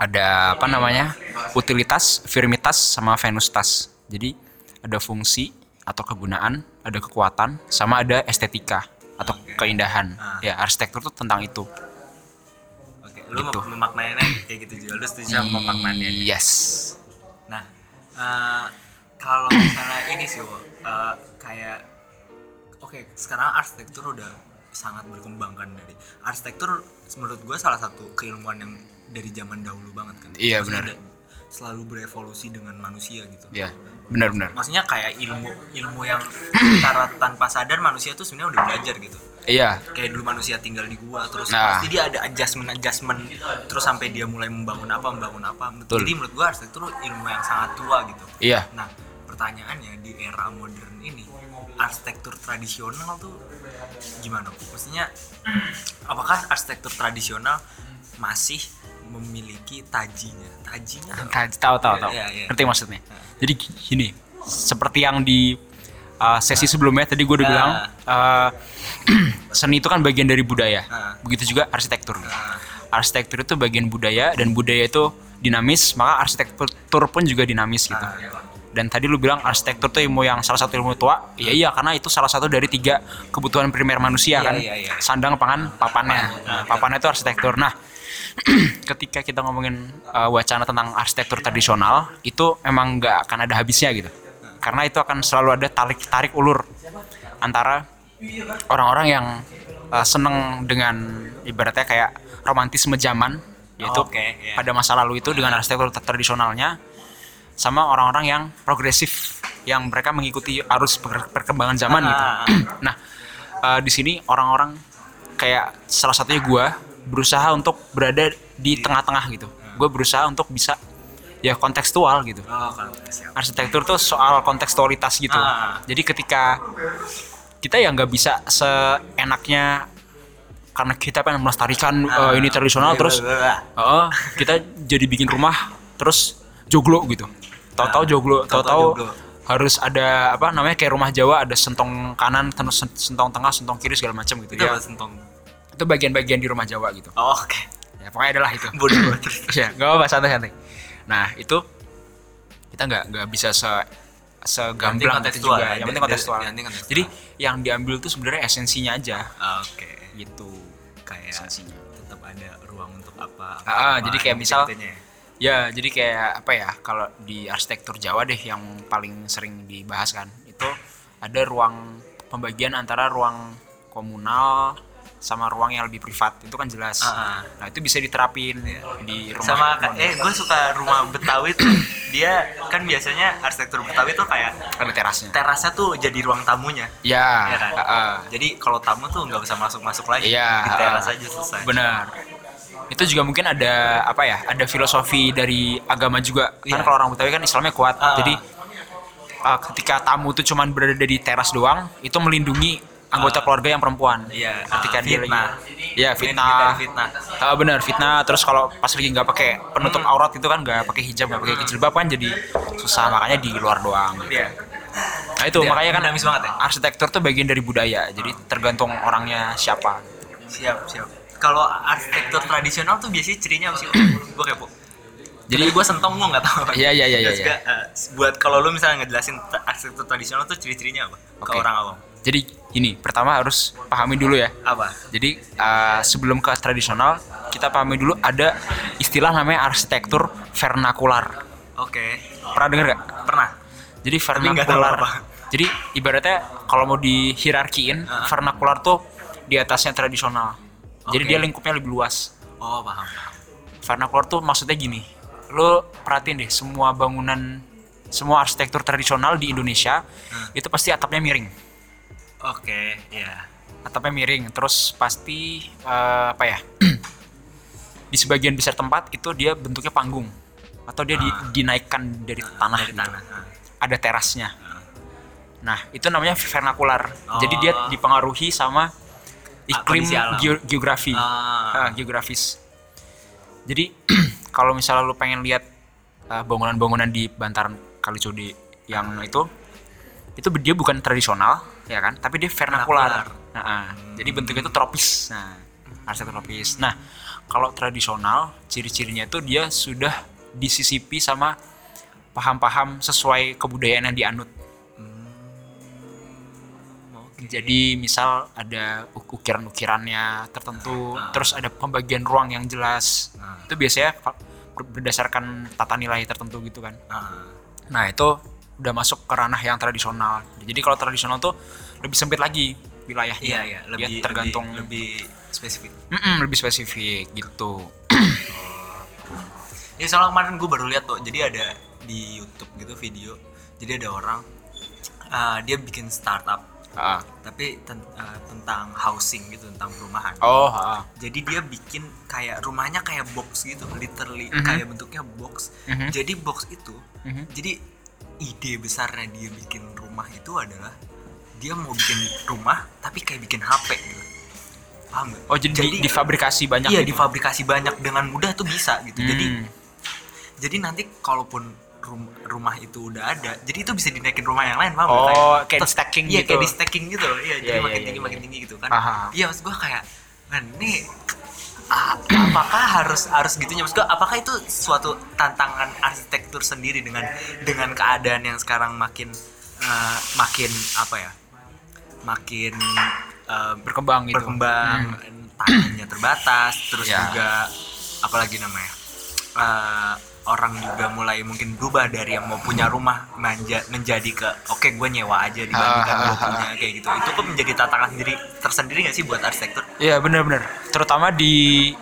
S1: Ada apa namanya? Utilitas, firmitas, sama venusitas. Jadi ada fungsi atau kegunaan, ada kekuatan, sama ada estetika atau keindahan.
S2: Ah.
S1: Ya, arsitektur tuh tentang itu.
S2: oke lu
S1: Gitu.
S2: mem- memaknainya kayak gitu juga lu setuju sama pemaknainya
S1: Yes.
S2: nah eh, kalau misalnya ini sih Wo, eh, kayak oke sekarang arsitektur udah sangat berkembang kan dari arsitektur menurut gue salah satu keilmuan yang dari zaman dahulu banget kan
S1: Iya,
S2: Maksudnya
S1: benar.
S2: ada- selalu berevolusi dengan manusia gitu
S1: Ya, benar-benar.
S2: maksudnya kayak ilmu ilmu yang secara tanpa sadar manusia tuh sebenarnya udah belajar gitu
S1: Iya,
S2: kayak dulu manusia tinggal di gua terus
S1: Nah.
S2: pasti dia ada adjustment adjustment terus sampai dia mulai membangun apa membangun apa
S1: Betul.
S2: jadi menurut gua arsitektur ilmu yang sangat tua gitu
S1: iya.
S2: nah pertanyaannya di era modern ini arsitektur tradisional tuh gimana maksudnya apakah arsitektur tradisional masih memiliki tajinya tajinya tuh apa?
S1: Tahu tahu tahu. tahu.
S2: Iya, iya.
S1: Ngerti maksudnya. Jadi gini, seperti yang di uh, sesi sebelumnya tadi gue udah
S2: Nah.
S1: bilang uh, seni itu kan bagian dari budaya.
S2: Nah.
S1: Begitu juga arsitektur.
S2: Nah.
S1: Arsitektur itu bagian budaya dan budaya itu dinamis, maka arsitektur pun juga dinamis gitu.
S2: Ah, iya.
S1: Dan tadi lu bilang arsitektur tuh ilmu yang salah satu ilmu tua. Iya iya karena itu salah satu dari tiga kebutuhan primer manusia
S2: Iya,
S1: kan.
S2: iya, iya.
S1: Sandang, pangan, papannya. Nah, papannya itu arsitektur. Nah, ketika kita ngomongin uh, wacana tentang arsitektur tradisional itu emang nggak akan ada habisnya gitu karena itu akan selalu ada tarik tarik ulur antara orang-orang yang uh, seneng dengan ibaratnya kayak romantisme zaman yaitu
S2: Oke, iya.
S1: pada masa lalu itu dengan arsitektur tra- tradisionalnya sama orang-orang yang progresif yang mereka mengikuti arus per- perkembangan zaman gitu.
S2: Ah.
S1: nah, eh, di sini orang-orang kayak salah satunya gua berusaha untuk berada di tengah-tengah gitu. gue berusaha untuk bisa ya kontekstual gitu
S2: Oh, kalau siap.
S1: arsitektur tuh soal kontekstualitas gitu
S2: Ah.
S1: jadi ketika kita ya nggak bisa seenaknya karena kita pengen melestarikan eh,
S2: Ah.
S1: ini tradisional
S2: Iya,
S1: terus
S2: iya, iya.
S1: eh, kita jadi bikin rumah terus joglo gitu tahu-tahu
S2: Ah.
S1: joglo
S2: Tahu-tahu
S1: tahu-tahu
S2: joglo.
S1: harus ada apa namanya kayak rumah Jawa ada sentong kanan terus sen- sentong tengah sentong kiri segala macam gitu
S2: Itu
S1: ya
S2: apa sentong?
S1: itu bagian-bagian di rumah Jawa gitu
S2: Oh, oke.
S1: ya pokoknya adalah itu
S2: Bodoh banget.
S1: ya nggak apa-apa santai-santai nah itu kita nggak nggak bisa se segamblang itu
S2: kontekstual ya,
S1: juga yang penting
S2: jadi-
S1: kontekstual
S2: yang penting kontekstual.
S1: jadi yang diambil itu sebenarnya esensinya aja
S2: Ah, Oke.
S1: gitu
S2: Kayak
S1: Esensinya.
S2: tetap ada ruang untuk apa?
S1: Ah, ah, jadi kayak misal-
S2: gitu-gitunya ya.
S1: ya jadi kayak apa ya kalau di arsitektur Jawa deh yang paling sering dibahas kan itu ada ruang pembagian antara ruang komunal sama ruang yang lebih privat itu kan jelas
S2: Ah, ah.
S1: nah itu bisa diterapin di rumah
S2: sama ka- eh gue suka rumah Betawi tuh dia kan biasanya arsitektur Betawi tuh kayak
S1: ada terasnya
S2: terasnya tuh jadi ruang tamunya
S1: ya
S2: ya kan?
S1: ah, ah.
S2: jadi kalau tamu tuh nggak bisa masuk masuk lagi
S1: Iya.
S2: di teras aja selesai
S1: Benar. Itu juga mungkin ada apa ya? Ada filosofi dari agama juga. Kan
S2: Iya.
S1: kalau orang Betawi kan Islamnya kuat.
S2: Ah.
S1: Jadi uh, ketika tamu itu cuman berada di teras doang, itu melindungi anggota
S2: Ah.
S1: keluarga yang perempuan.
S2: Iya,
S1: Ketika
S2: ah,
S1: dia
S2: fitnah.
S1: lagi Iya,
S2: Melindungi
S1: fitnah.
S2: dari fitnah.
S1: Ah, benar, fitnah. Terus kalau pas lagi nggak pakai penutup
S2: Hmm.
S1: aurat itu kan nggak pakai hijab, nggak pakai jilbab kan jadi susah makanya di luar doang.
S2: Iya.
S1: Nah itu
S2: Iya,
S1: makanya kan
S2: dinamis banget ya.
S1: arsitektur tuh bagian dari budaya. Jadi tergantung orangnya siapa.
S2: siap siap kalau arsitektur tradisional tuh biasanya cirinya apa sih gue kepo
S1: Jadi-
S2: jadi gue sentong gue nggak tahu apa.
S1: Iya, iya, iya, iya,
S2: Terus
S1: iya.
S2: juga, eh, buat kalau lu misalnya ngejelasin t- arsitektur tradisional tuh ciri-cirinya apa ke
S1: Oke.
S2: orang awam
S1: Jadi gini, pertama harus pahami dulu ya.
S2: apa
S1: Jadi uh, sebelum ke tradisional, kita pahami dulu ada istilah namanya arsitektur vernakular.
S2: oke
S1: Pernah dengar gak?
S2: pernah
S1: Jadi
S2: nggak tahu
S1: vernakular.
S2: apa.
S1: Jadi ibaratnya kalau mau dihierarkiin,
S2: Ah.
S1: vernakular tuh di atasnya tradisional. Jadi
S2: Oke.
S1: dia lingkupnya lebih luas.
S2: oh paham paham
S1: Vernakular tuh maksudnya gini. Lo perhatiin deh semua bangunan semua arsitektur tradisional di Indonesia itu pasti atapnya miring.
S2: oke iya
S1: atapnya miring terus pasti eh, apa ya di sebagian besar tempat itu dia bentuknya panggung atau dia di- dinaikkan dari tanah
S2: dari
S1: gitu.
S2: tanah ah.
S1: ada terasnya nah itu namanya vernakular jadi dia
S2: Oh. Ah,
S1: dipengaruhi sama iklim
S2: kondisi alam.
S1: geo- geografi
S2: Ah.
S1: Ah, geografis jadi kalau misalnya lu pengen lihat eh, bangunan-bangunan di bantaran Kali Cudi yang itu itu dia bukan tradisional ya kan tapi dia vernakular Nah, ah. jadi bentuknya itu tropis nah arsitektur tropis nah kalau tradisional ciri-cirinya itu dia sudah disisipi sama paham-paham sesuai kebudayaan yang dianut jadi misal ada uk- ukiran-ukirannya tertentu, terus ada pembagian ruang yang jelas.
S2: Ah.
S1: Itu biasanya fa- ber- berdasarkan tata nilai tertentu gitu kan.
S2: Ah.
S1: Nah, itu udah masuk ke ranah yang tradisional. Jadi kalau tradisional tuh lebih sempit lagi wilayahnya.
S2: Iya iya
S1: Dia
S2: lebih
S1: Ya, tergantung
S2: lebih, lebih spesifik.
S1: Mm-mm, lebih spesifik gitu.
S2: Ya soalnya kemarin gue baru lihat tuh, jadi ada di YouTube gitu video, jadi ada orang eh, dia bikin startup
S1: Ah.
S2: tapi ten- eh, tentang housing gitu tentang perumahan.
S1: Oh, ah.
S2: Jadi dia bikin kayak rumahnya kayak box gitu, literally
S1: Mhm.
S2: kayak bentuknya box.
S1: Mhm.
S2: Jadi box itu,
S1: Mhm.
S2: jadi ide besarnya dia bikin rumah itu adalah dia mau bikin rumah tapi kayak bikin HP gitu. Paham nggak?
S1: Oh, jadi, di- difabrikasi banyak
S2: iya
S1: gitu.
S2: difabrikasi banyak dengan mudah tuh bisa gitu jadi
S1: Hmm.
S2: jadi nanti kalaupun rum- rumah itu udah ada jadi itu bisa dinaikin rumah yang lain paham
S1: Oh,
S2: nggak?
S1: kayak di
S2: tet-
S1: stacking
S2: iya,
S1: gitu.
S2: kayak di stacking gitu loh iya jadi
S1: Iya,
S2: makin
S1: iya,
S2: tinggi
S1: iya,
S2: makin
S1: iya.
S2: tinggi gitu kan
S1: Aha.
S2: iya maksud gua kayak kan nih a- apakah harus harus gitunya maksud gua apakah itu suatu tantangan arsitektur sendiri dengan dengan keadaan yang sekarang makin eh, makin apa ya makin eh,
S1: Berkembang gitu.
S2: berkembang tanahnya terbatas terus
S1: Ya.
S2: juga apalagi namanya eh, orang juga mulai mungkin berubah dari yang mau punya rumah manja- menjadi ke oke gue nyewa aja dibandingkan
S1: Ah,
S2: gue
S1: ah,
S2: punya kayak gitu itu kan menjadi tantangan sendiri tersendiri nggak sih buat arsitektur
S1: Iya benar-benar. Terutama di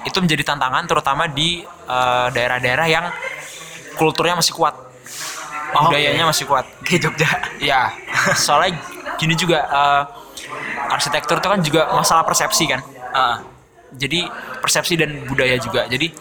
S1: itu menjadi tantangan terutama di eh, daerah-daerah yang kulturnya masih kuat,
S2: Oh,
S1: budayanya
S2: oke.
S1: masih kuat.
S2: kayak Jogja
S1: Iya. Soalnya gini juga eh, arsitektur itu kan juga masalah persepsi kan.
S2: Ah,
S1: Jadi persepsi dan budaya juga. Jadi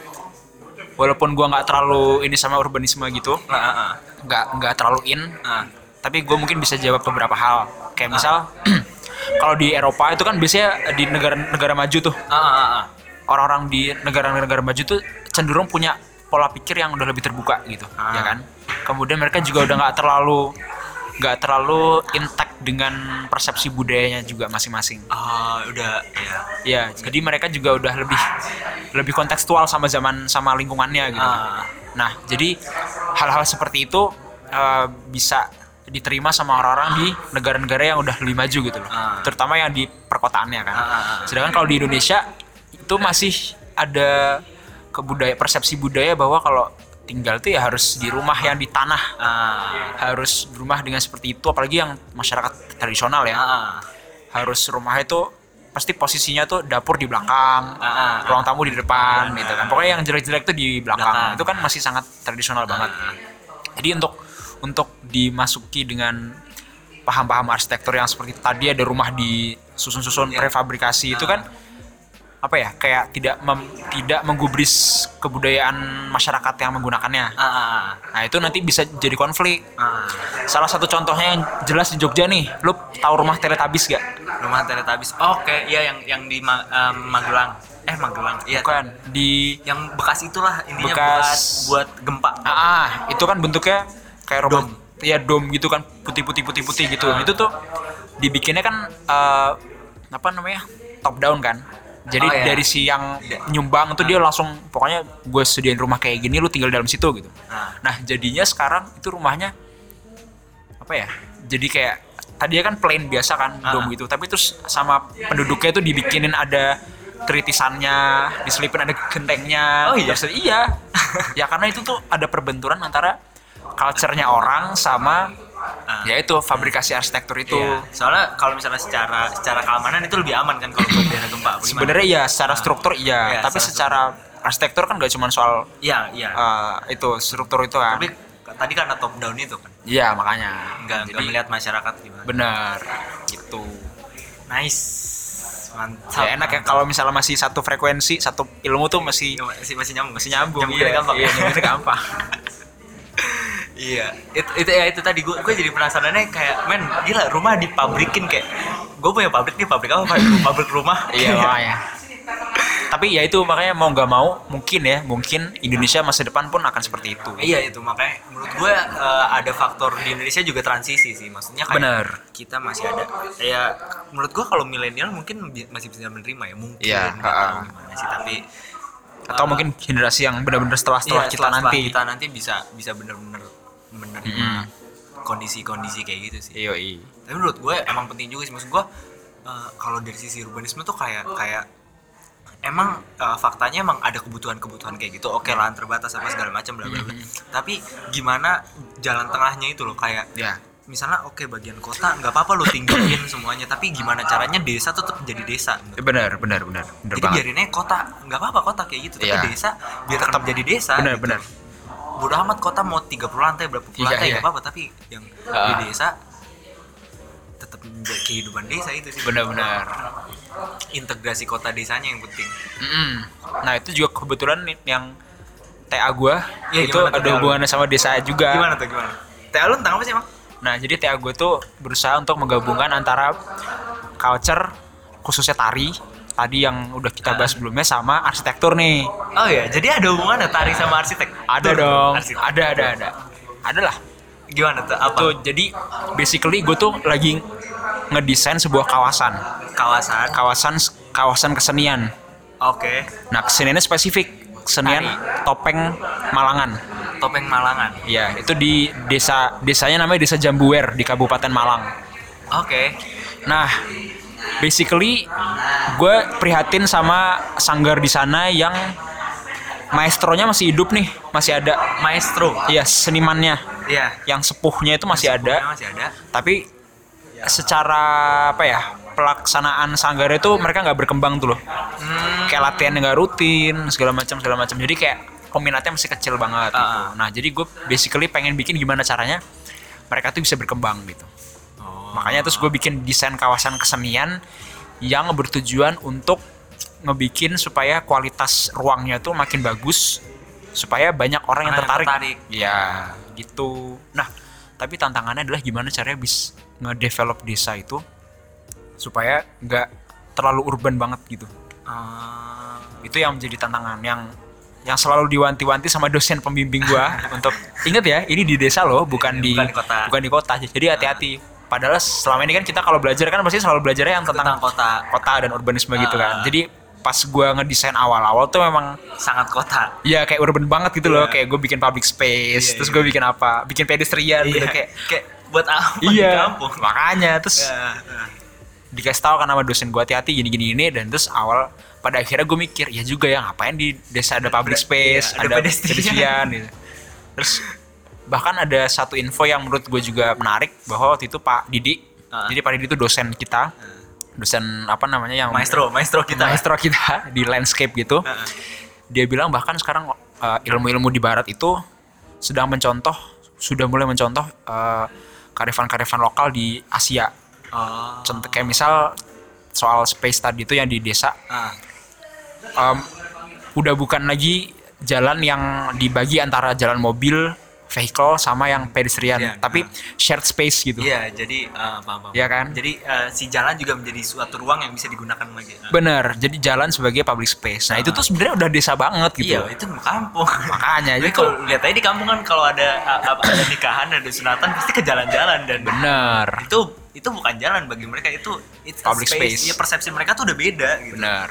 S1: walaupun gua nggak terlalu ini sama urbanisme gitu
S2: Ah, ah, ah.
S1: nggak nggak terlalu in
S2: Ah.
S1: tapi gue mungkin bisa jawab beberapa hal kayak misal kalau di Eropa itu kan biasanya di negara-negara maju tuh
S2: Ah, ah, ah, ah.
S1: orang-orang di negara-negara maju tuh cenderung punya pola pikir yang udah lebih terbuka gitu
S2: Ah.
S1: ya kan kemudian mereka juga udah nggak terlalu nggak terlalu intact dengan persepsi budayanya juga masing-masing
S2: Ah, udah ya.
S1: ya jadi mereka juga udah lebih lebih kontekstual sama zaman sama lingkungannya gitu
S2: Ah.
S1: nah jadi hal-hal seperti itu eh, bisa diterima sama orang-orang di negara-negara yang udah lebih maju gitu loh
S2: Ah.
S1: terutama yang di perkotaannya kan
S2: Ah, ah, ah.
S1: sedangkan kalau di Indonesia itu masih ada kebudaya persepsi budaya bahwa kalau tinggal tuh ya harus di rumah yang di tanah
S2: Ah,
S1: harus rumah dengan seperti itu apalagi yang masyarakat tradisional ya
S2: ah, ah.
S1: harus rumah itu pasti posisinya tuh dapur di belakang,
S2: Ah, ah.
S1: ruang tamu di depan gitu kan. Pokoknya yang jelek-jelek tuh di belakang.
S2: Belakang. Ah,
S1: Itu kan masih sangat tradisional banget. Jadi untuk untuk dimasuki dengan paham-paham arsitektur yang seperti tadi ada rumah di susun-susun
S2: Iya.
S1: prefabrikasi
S2: Ah,
S1: itu kan apa ya kayak tidak mem- tidak menggubris kebudayaan masyarakat yang menggunakannya.
S2: Ah, ah,
S1: Nah, itu nanti bisa jadi konflik.
S2: ah.
S1: Salah satu contohnya yang jelas di Jogja nih, lu tahu rumah Teletabis gak?
S2: Rumah Teletubbies. Oh, Oke, iya yang yang di Ma- eh, Magelang. Eh, Magelang. Iya.
S1: Bukan kan, di
S2: Yang bekas itulah intinya
S1: Bekas-
S2: bekas buat gempa.
S1: ah, ah, itu kan bentuknya kayak rumah
S2: Dom.
S1: ya dom gitu kan putih-putih putih-putih gitu.
S2: Ah.
S1: Itu tuh dibikinnya kan eh, apa namanya? top down kan. Jadi
S2: Oh, iya.
S1: dari si yang
S2: Iya.
S1: nyumbang tuh dia langsung pokoknya gue sediain rumah kayak gini lu tinggal dalam situ gitu.
S2: Ah.
S1: Nah, jadinya sekarang itu rumahnya apa ya? Jadi kayak tadinya kan plain biasa kan
S2: Ah.
S1: dom gitu, tapi terus sama penduduknya itu dibikinin ada keritisannya, diselipin ada gentengnya.
S2: Oh, iya?
S1: Terus, iya. ya karena itu tuh ada perbenturan antara culture-nya orang sama
S2: Ah.
S1: ya itu fabrikasi arsitektur itu.
S2: Iya. Soalnya kalau misalnya secara secara keamanan itu lebih aman kan kalau buat daerah gempa. Bagaimana?
S1: Sebenarnya ya secara
S2: Ah.
S1: struktur iya,
S2: Iya,
S1: tapi
S2: secara
S1: secara arsitektur kan gak cuma soal
S2: Iya, iya.
S1: eh, itu struktur itu kan.
S2: Tapi tadi karena top down itu kan.
S1: Iya, makanya.
S2: Enggak enggak
S1: Jadi-
S2: melihat masyarakat gimana.
S1: Benar, gitu.
S2: Nice. Mantap.
S1: Ya, enak ya
S2: mantap.
S1: kalau misalnya masih satu frekuensi, satu ilmu tuh masih
S2: Iya, masih masih nyambung
S1: masih nyambung.
S2: Nyambungnya gampang
S1: iya, nyambungnya gampang.
S2: iya itu itu ya itu tadi gue gue jadi penasarannya kayak men gila rumah dipabrikin kayak gue punya pabrik nih pabrik apa pabrik, pabrik rumah
S1: iya, makanya. Tapi ya itu makanya mau nggak mau mungkin ya, mungkin Indonesia masa depan pun akan seperti itu.
S2: iya itu makanya menurut gue eh, ada faktor di Indonesia juga transisi sih maksudnya kayak
S1: Benar.
S2: kita masih ada ya menurut gue kalau milenial mungkin bi- masih bisa menerima ya mungkin
S1: Iya,
S2: nggak tahu
S1: ha-ha.
S2: gimana sih tapi
S1: Atau
S2: eh,
S1: mungkin generasi yang benar-benar setelah
S2: iya,
S1: setelah kita nanti.
S2: kita nanti bisa bisa benar-benar menerima
S1: Mm-mm.
S2: kondisi-kondisi kayak gitu sih
S1: Iya, iya.
S2: tapi menurut gue emang penting juga sih maksud gue eh, kalau dari sisi urbanisme tuh kayak kayak emang eh, faktanya emang ada kebutuhan-kebutuhan kayak gitu oke lahan terbatas apa segala macam bla bla bla tapi gimana jalan tengahnya itu loh kayak
S1: Ya.
S2: misalnya oke bagian kota nggak apa-apa lo tinggiin semuanya tapi gimana caranya desa tetap jadi desa
S1: Ya, Benar, benar, benar. Benar
S2: jadi
S1: banget.
S2: biarinnya kota nggak apa-apa kota kayak gitu tapi
S1: Iya.
S2: desa biar tetap jadi desa
S1: Benar,
S2: gitu.
S1: benar.
S2: bodo amat kota mau 30 lantai berapa puluh
S1: Iya,
S2: lantai
S1: iya.
S2: nggak apa-apa tapi yang di
S1: Ah.
S2: desa tetap menja- kehidupan desa itu sih
S1: Benar-benar.
S2: integrasi kota desanya yang penting
S1: Mm-mm. Nah, itu juga kebetulan nih yang TA gua
S2: Iya,
S1: itu
S2: gimana tuh
S1: ada
S2: TA lu?
S1: hubungannya sama desa juga.
S2: gimana tuh gimana teh alun tentang apa sih emang
S1: Nah, jadi TA gue tuh berusaha untuk menggabungkan antara culture khususnya tari tadi yang udah kita bahas sebelumnya sama arsitektur nih.
S2: oh
S1: iya,
S2: ya jadi ada hubungannya tari sama arsitek
S1: Ada
S2: Tuh,
S1: dong.
S2: arsitek.
S1: Ada ada ada. Ada lah.
S2: gimana tuh apa
S1: Tuh, jadi basically gue tuh lagi ngedesain sebuah kawasan.
S2: kawasan
S1: Kawasan kawasan kesenian.
S2: oke
S1: Nah, keseniannya spesifik. Kesenian topeng Malangan.
S2: topeng Malangan
S1: Iya, itu di desa desanya namanya Desa Jambuwer di Kabupaten Malang.
S2: oke
S1: Nah, basically gue prihatin sama sanggar di sana yang maestronya masih hidup nih, masih ada.
S2: maestro
S1: Iya, senimannya
S2: iya
S1: yang sepuhnya itu masih
S2: Sebelumnya
S1: ada,
S2: masih ada
S1: tapi secara apa ya pelaksanaan sanggar itu mereka nggak berkembang tuh loh.
S2: Hmm.
S1: Kayak latihan nggak rutin, segala macam segala macam. Jadi kayak peminatnya masih kecil banget. gitu.
S2: Ah.
S1: Nah, jadi gue basically pengen bikin gimana caranya mereka tuh bisa berkembang gitu.
S2: oh.
S1: Makanya terus gue bikin desain kawasan kesenian yang bertujuan untuk ngebikin supaya kualitas ruangnya tuh makin bagus supaya banyak orang yang
S2: Orang yang
S1: tertarik.
S2: tertarik.
S1: Ya, gitu. Nah, tapi tantangannya adalah gimana caranya bisa ngedevelop desa itu supaya nggak terlalu urban banget gitu.
S2: Ah,
S1: Itu yang menjadi tantangan yang yang selalu diwanti-wanti sama dosen pembimbing gua untuk inget ya, ini di desa loh, bukan di
S2: Iya, Bukan di kota.
S1: bukan di kota. Jadi hati-hati. Padahal selama ini kan kita kalau belajar kan pasti selalu belajarnya yang
S2: tentang
S1: tentang
S2: kota
S1: kota dan urbanisme gitu
S2: Ah.
S1: kan. Jadi pas gua ngedesain awal-awal tuh memang
S2: sangat kota
S1: ya kayak urban banget gitu loh,
S2: Iya.
S1: kayak gue bikin public space,
S2: Iya,
S1: terus
S2: iya.
S1: gue bikin apa? Bikin pedestrian gitu
S2: Iya.
S1: kayak
S2: kayak buat apa di
S1: iya,
S2: kampung
S1: makanya terus
S2: Ya,
S1: dikasih tahu kan sama dosen gue hati-hati gini gini ini dan terus awal pada akhirnya gue mikir ya juga ya ngapain di desa ada public space,
S2: iya, ada
S1: ada,
S2: pedestrian.
S1: pedestrian, gitu. Terus bahkan ada satu info yang menurut gue juga menarik bahwa waktu itu Pak Didi,
S2: Ah.
S1: jadi Pak Didi itu dosen kita, dosen apa namanya yang
S2: maestro maestro kita ya? Ah,
S1: maestro kita di landscape gitu.
S2: Heeh.
S1: Dia bilang bahkan sekarang uh, ilmu-ilmu di barat itu sedang mencontoh sudah mulai mencontoh uh, karifan-karifan lokal di Asia.
S2: oh
S1: Contoh kayak misal soal space tadi itu yang di desa
S2: ah.
S1: um, udah bukan lagi jalan yang dibagi antara jalan mobil, vehicle sama yang pedestrian,
S2: Iya,
S1: tapi shared space gitu.
S2: Iya, jadi eh, paham, paham.
S1: Iya kan?
S2: Jadi eh, si jalan juga menjadi suatu ruang yang bisa digunakan lagi. Ah.
S1: Bener, jadi jalan sebagai public space. Nah, itu tuh sebenarnya udah desa banget gitu.
S2: Iya, itu kampung.
S1: Makanya,
S2: Jadi
S1: jadi
S2: kalau lihat aja di kampung kan kalau ada a- a- ada nikahan, ada sunatan pasti ke jalan-jalan dan
S1: Bener.
S2: itu itu bukan jalan bagi mereka itu it's a
S1: Public space.
S2: Iya, persepsi mereka tuh udah beda gitu.
S1: Bener.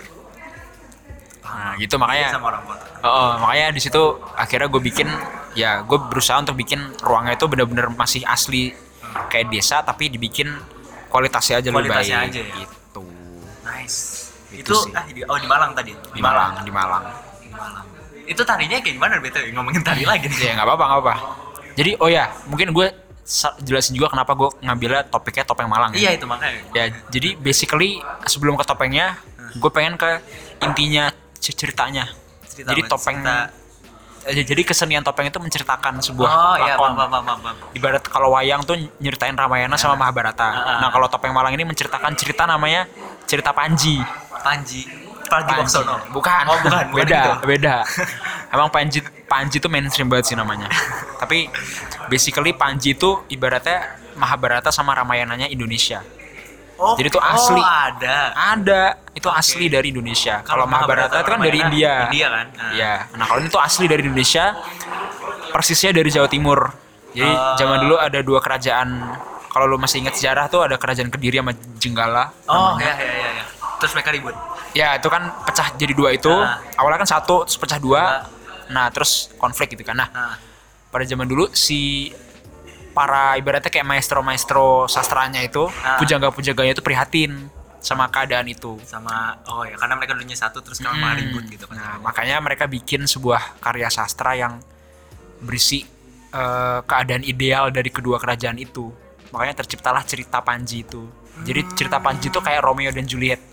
S1: Nah, gitu
S2: Beda
S1: makanya.
S2: sama orang kota.
S1: Oh, makanya di situ akhirnya gue bikin ya gue berusaha untuk bikin ruangnya itu bener-bener masih asli kayak desa tapi dibikin kualitasnya aja
S2: Kualitasnya
S1: lebih baik
S2: aja ya.
S1: gitu.
S2: Nice.
S1: Itu
S2: Itu,
S1: sih.
S2: ah, di, oh di Malang tadi.
S1: Di Malang, di Malang.
S2: Itu tarinya kayak gimana BTW? Ngomongin tari lagi nih.
S1: Ya nggak apa-apa, nggak apa-apa. Jadi oh ya, mungkin gue sa- jelasin juga kenapa gue ngambilnya topiknya topeng Malang ya.
S2: Iya, itu makanya.
S1: Ya, jadi basically sebelum ke topengnya, gue pengen ke intinya c- ceritanya.
S2: Cerita
S1: jadi
S2: apa?
S1: topeng
S2: Cerita-
S1: Eh, jadi kesenian topeng itu menceritakan sebuah
S2: Oh, iya,
S1: lakon.
S2: paham, paham, paham, paham.
S1: Ibarat kalau wayang tuh nyeritain Ramayana sama Mahabharata.
S2: Ah.
S1: Nah, kalau topeng Malang ini menceritakan cerita namanya cerita Panji.
S2: Panji. Panji
S1: Panji.
S2: Waksono.
S1: Bukan.
S2: Oh, bukan. bukan
S1: beda,
S2: gitu.
S1: beda. Emang Panji Panji itu mainstream banget sih namanya. Tapi basically Panji itu ibaratnya Mahabharata sama Ramayananya Indonesia.
S2: Oh,
S1: Jadi itu asli.
S2: Oh, ada.
S1: Ada, itu
S2: Oke.
S1: asli dari Indonesia. Kalau Mahabharata itu kan dari
S2: Ramayana,
S1: India.
S2: India kan. Ah.
S1: Iya. Nah, kalau ini tuh asli dari Indonesia, persisnya dari Jawa Timur. Jadi
S2: Ah.
S1: zaman dulu ada dua kerajaan. Kalau lu masih ingat sejarah tuh ada kerajaan Kediri sama Jenggala.
S2: Oh, iya iya iya iya. Terus mereka ribut.
S1: Ya, itu kan pecah jadi dua itu.
S2: Ah.
S1: Awalnya kan satu, terus pecah
S2: Ah.
S1: dua. Nah, terus konflik gitu kan. Nah,
S2: Nah,
S1: pada zaman dulu si para ibaratnya kayak maestro-maestro sastranya itu,
S2: Ah.
S1: pujangga-pujangganya itu prihatin sama keadaan itu.
S2: sama oh ya karena mereka dulunya satu terus sekarang malah
S1: Hmm.
S2: ribut gitu kan.
S1: Nah, makanya mereka bikin sebuah karya sastra yang berisi eh, keadaan ideal dari kedua kerajaan itu. Makanya terciptalah cerita Panji itu. Jadi cerita Panji itu kayak Romeo dan Juliet.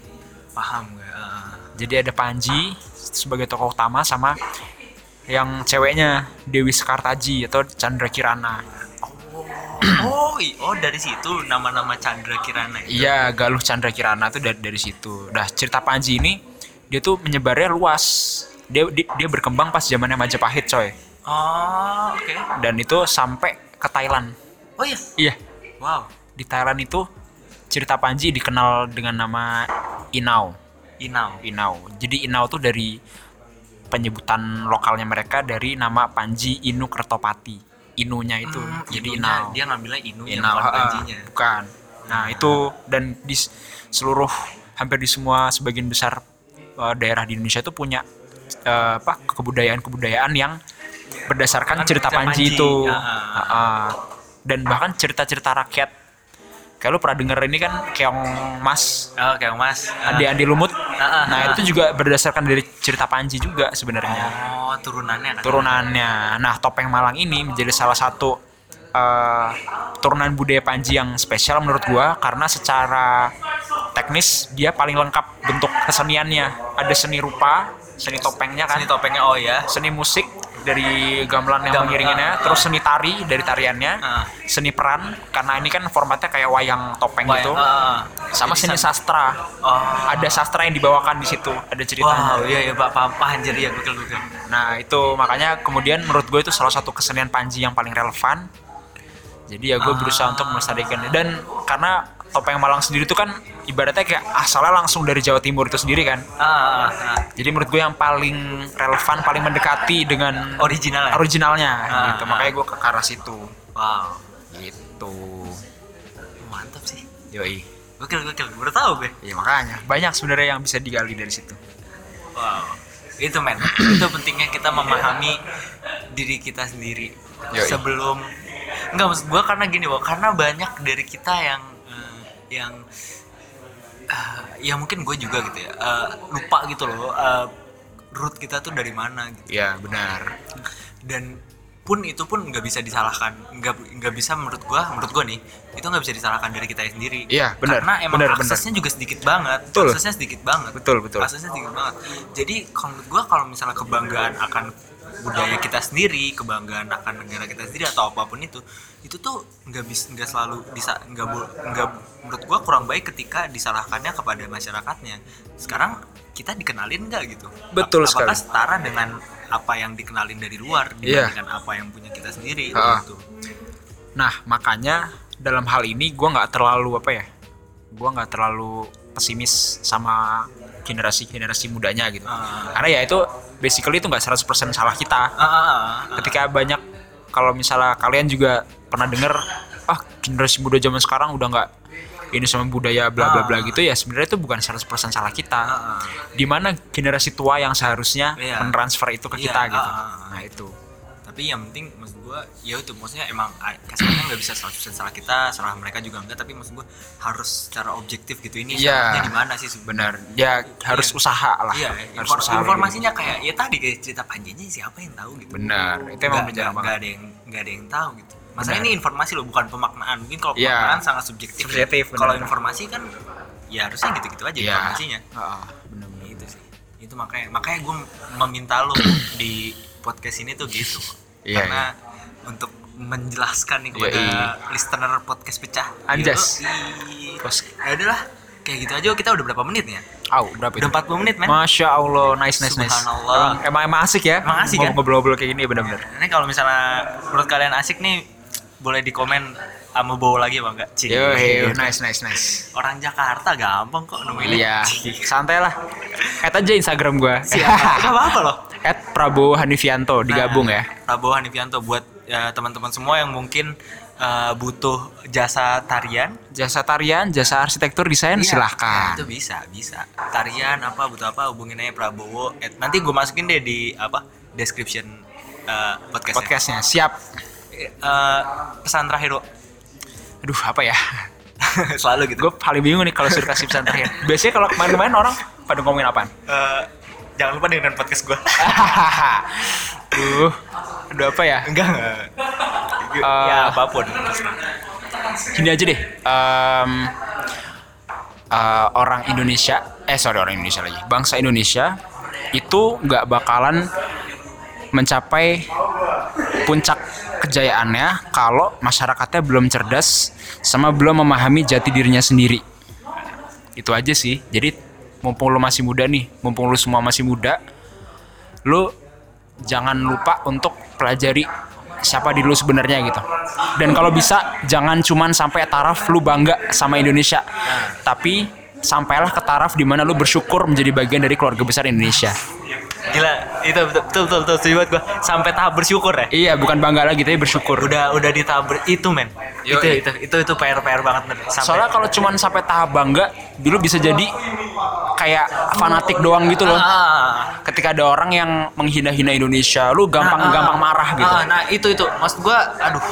S2: Paham gue. ah.
S1: Jadi ada Panji sebagai tokoh utama sama yang ceweknya Dewi Sekartaji atau Chandra Kirana.
S2: oh, i- oh dari situ nama-nama Chandra Kirana itu.
S1: Iya, Galuh Chandra Kirana tuh dari dari situ. Nah, cerita Panji ini dia tuh menyebarnya luas. Dia dia, dia berkembang pas zamannya Majapahit, coy.
S2: Oh, oke.
S1: Dan itu sampai ke Thailand.
S2: Oh iya.
S1: Iya,
S2: Wow.
S1: di Thailand itu cerita Panji dikenal dengan nama Inau.
S2: Inau.
S1: Inau. Jadi Inau tuh dari penyebutan lokalnya mereka dari nama Panji Inu Kertopati. Inunya itu.
S2: Hmm,
S1: jadi
S2: Inunya,
S1: Inau.
S2: Dia ngambilnya Inunya
S1: Inau,
S2: bukan
S1: ah,
S2: Panjinya.
S1: bukan. Nah, itu dan di s- seluruh hampir di semua sebagian besar eh, daerah di Indonesia itu punya eh, apa kebudayaan-kebudayaan yang berdasarkan
S2: Kan
S1: cerita
S2: cerita
S1: Panji,
S2: Panji,
S1: itu.
S2: ya.
S1: Ah, ah. Dan bahkan cerita-cerita rakyat. Kayak lu pernah denger ini kan Keong Mas,
S2: Oh, Oke, Mas. Ah.
S1: Andi Andi Lumut.
S2: ah, ah.
S1: Nah, itu juga berdasarkan dari cerita Panji juga sebenarnya
S2: Oh, turunannya kan.
S1: turunannya. Nah, topeng Malang ini menjadi salah satu eh, turunan budaya Panji yang spesial menurut gua karena secara teknis dia paling lengkap bentuk keseniannya. Ada seni rupa, seni topengnya kan,
S2: Sini topengnya oh ya.
S1: seni musik, dari gamelan yang
S2: Gamelan.
S1: mengiringinnya, terus seni tari dari tariannya,
S2: Ah.
S1: seni peran karena ini kan formatnya kayak wayang topeng
S2: Wah,
S1: gitu,
S2: ah,
S1: sama
S2: jadi
S1: seni
S2: san-
S1: sastra.
S2: Oh.
S1: Ada sastra yang dibawakan di situ, ada ceritanya.
S2: Wow, iya iya Pak, paham, paham jadi ya gokil gokil.
S1: Nah itu makanya kemudian menurut gue itu salah satu kesenian Panji yang paling relevan. Jadi ya
S2: Ah.
S1: gue berusaha untuk melestarikan dan karena topeng Malang sendiri itu kan ibaratnya kayak asalnya langsung dari Jawa Timur itu sendiri kan.
S2: Ah, ah, ah.
S1: Jadi menurut gue yang paling relevan, paling mendekati dengan
S2: original ya?
S1: originalnya
S2: Ah,
S1: gitu.
S2: ah.
S1: Makanya gue ke arah situ.
S2: Wow,
S1: Gitu.
S2: mantap sih.
S1: Yoi.
S2: Gokil gokil, baru tahu gue.
S1: Ya makanya banyak sebenarnya yang bisa digali dari situ.
S2: Wow. Itu men, itu pentingnya kita memahami diri kita sendiri
S1: Yoi.
S2: sebelum Enggak maksud gue karena gini, Wak, karena banyak dari kita yang eh, yang eh, ya mungkin gue juga gitu ya. eh, lupa gitu loh eh, root kita tuh dari mana gitu.
S1: Ya benar.
S2: dan pun itu pun nggak bisa disalahkan nggak nggak bisa menurut gua menurut gua nih itu nggak bisa disalahkan dari kita sendiri
S1: Iya, benar,
S2: karena emang
S1: benar, benar.
S2: aksesnya juga sedikit banget
S1: Betul.
S2: aksesnya sedikit banget
S1: Betul, betul.
S2: aksesnya sedikit banget jadi kalau menurut gua kalau misalnya kebanggaan akan budaya kita sendiri kebanggaan akan negara kita sendiri atau apapun itu itu tuh nggak bisa nggak selalu bisa nggak bo- nggak menurut gua kurang baik ketika disalahkannya kepada masyarakatnya sekarang kita dikenalin nggak gitu
S1: Betul
S2: Ap- apakah
S1: sekali.
S2: setara dengan apa yang dikenalin dari luar
S1: Iya.
S2: dibandingkan apa yang punya kita sendiri
S1: Ha.
S2: gitu.
S1: Nah makanya dalam hal ini gue nggak terlalu apa ya, gue nggak terlalu pesimis sama generasi generasi mudanya gitu.
S2: Ah.
S1: Karena ya itu basically itu nggak 100% salah kita.
S2: Ah, ah, ah, ah.
S1: Ketika banyak kalau misalnya kalian juga pernah denger ah generasi muda zaman sekarang udah nggak ini sama budaya bla bla bla
S2: Ah.
S1: gitu ya sebenarnya itu bukan 100% salah kita.
S2: Ah, ah.
S1: Dimana generasi tua yang seharusnya
S2: Iya.
S1: mentransfer itu ke
S2: Iya,
S1: kita gitu.
S2: ah, ah, ah.
S1: Nah itu.
S2: Tapi yang penting maksud gua ya itu maksudnya emang ah, kasarnya nggak bisa 100% salah kita, salah mereka juga enggak tapi maksud gua harus secara objektif gitu ini
S1: Iya.
S2: salahnya di mana sih sebenarnya.
S1: Benar. Ya harus
S2: Iya.
S1: usaha lah.
S2: Iya,
S1: harus gitu.
S2: infor-
S1: usaha
S2: informasinya kayak ya tadi kayak cerita panjangnya siapa yang tahu gitu.
S1: Benar, itu emang benar
S2: Nggak- nggak-
S1: banget.
S2: nggak ada yang nggak ada yang tahu gitu. Masalah
S1: Benar.
S2: ini informasi loh bukan pemaknaan. Mungkin kalau
S1: Iya.
S2: pemaknaan sangat subjektif. ya.
S1: Subjektif, benar.
S2: Kalau informasi kan ya harusnya gitu-gitu aja
S1: Iya.
S2: informasinya.
S1: Heeh, benar-benar.
S2: Itu Gitu sih. Itu makanya makanya gue meminta lo di podcast ini tuh gitu.
S1: Iya,
S2: Karena untuk menjelaskan nih
S1: Iya,
S2: kepada
S1: iya.
S2: listener podcast pecah.
S1: Anjas.
S2: Yoi.
S1: Terus-
S2: Ya udahlah, kayak gitu aja kita udah berapa menit nih ya?
S1: Au, berapa itu?
S2: Udah 40 menit, men.
S1: Masya Allah, nice nice nice.
S2: Subhanallah.
S1: Emang, emang asik ya?
S2: Emang asik,
S1: Ngob-
S2: kan?
S1: Ngobrol-ngobrol kayak gini benar-benar.
S2: Ini kalau misalnya menurut kalian asik nih boleh dikomen sama Bowo lagi apa enggak? Cih.
S1: Yo, hey, nice nice nice.
S2: Orang Jakarta gampang kok nemuinnya.
S1: Iya,
S2: Cih.
S1: santai lah. Add aja Instagram gua.
S2: Siapa? Enggak apa-apa loh.
S1: At Prabowo Hanifianto digabung ya.
S2: Nah, Prabowo Hanifianto buat ya, teman-teman semua yang mungkin eh, butuh jasa tarian
S1: Jasa tarian, jasa arsitektur, desain
S2: Iya,
S1: silahkan.
S2: Itu bisa, bisa. Tarian apa butuh apa hubungin aja Prabowo. Eh, nanti gue masukin deh di apa description eh, podcast.
S1: Podcastnya siap.
S2: pesan terakhir lo
S1: Aduh apa ya?
S2: selalu gitu.
S1: Gue paling bingung nih kalau suruh kasih pesan terakhir. Biasanya kalau kemarin-kemarin orang pada ngomongin apaan?
S2: Eh, jangan lupa dengerin podcast gue.
S1: Duh, aduh apa ya?
S2: enggak enggak
S1: Eh.
S2: ya apapun
S1: gini aja deh em, eh, orang Indonesia eh sorry orang Indonesia lagi bangsa Indonesia itu nggak bakalan mencapai puncak kejayaannya kalau masyarakatnya belum cerdas sama belum memahami jati dirinya sendiri itu aja sih jadi mumpung lu masih muda nih mumpung lu semua masih muda lu jangan lupa untuk pelajari siapa diri lu sebenarnya gitu dan kalau bisa jangan cuman sampai taraf lu bangga sama Indonesia tapi sampailah ke taraf dimana lu bersyukur menjadi bagian dari keluarga besar Indonesia
S2: gila itu betul betul betul, betul setuju banget gua sampai tahap bersyukur ya
S1: iya bukan bangga lagi tapi bersyukur
S2: udah udah di tahap ber- itu men
S1: Yo,
S2: itu,
S1: iya.
S2: itu itu itu pr pr banget men sampai
S1: soalnya kalau cuman sampai tahap bangga dulu bisa jadi kayak fanatik doang gitu loh
S2: ah,
S1: ketika ada orang yang menghina-hina Indonesia lu
S2: nah, ah,
S1: gampang-gampang marah gitu
S2: ah, nah itu itu maksud gua aduh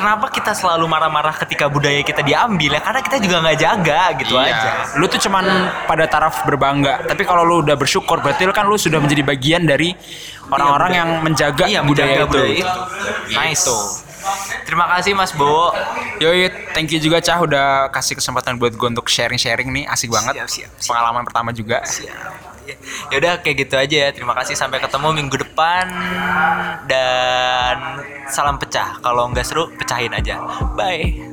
S2: kenapa kita selalu marah-marah ketika budaya kita diambil ya karena kita juga nggak jaga gitu
S1: Iya.
S2: aja
S1: Lu tuh cuman pada taraf berbangga, tapi kalau lu udah bersyukur berarti lu kan lu sudah menjadi bagian dari orang-orang yang menjaga
S2: iya
S1: budaya,
S2: menjaga budaya
S1: itu. Gitu.
S2: itu, nice terima kasih mas Bowo
S1: Yoi, thank you juga Cah udah kasih kesempatan buat gue untuk sharing-sharing nih, asik banget.
S2: Siap, siap, siap.
S1: Pengalaman pertama juga.
S2: Siap. aja. Ya udah kayak gitu aja ya. Terima kasih sampai ketemu minggu depan dan salam pecah. Kalau nggak seru pecahin aja. Bye.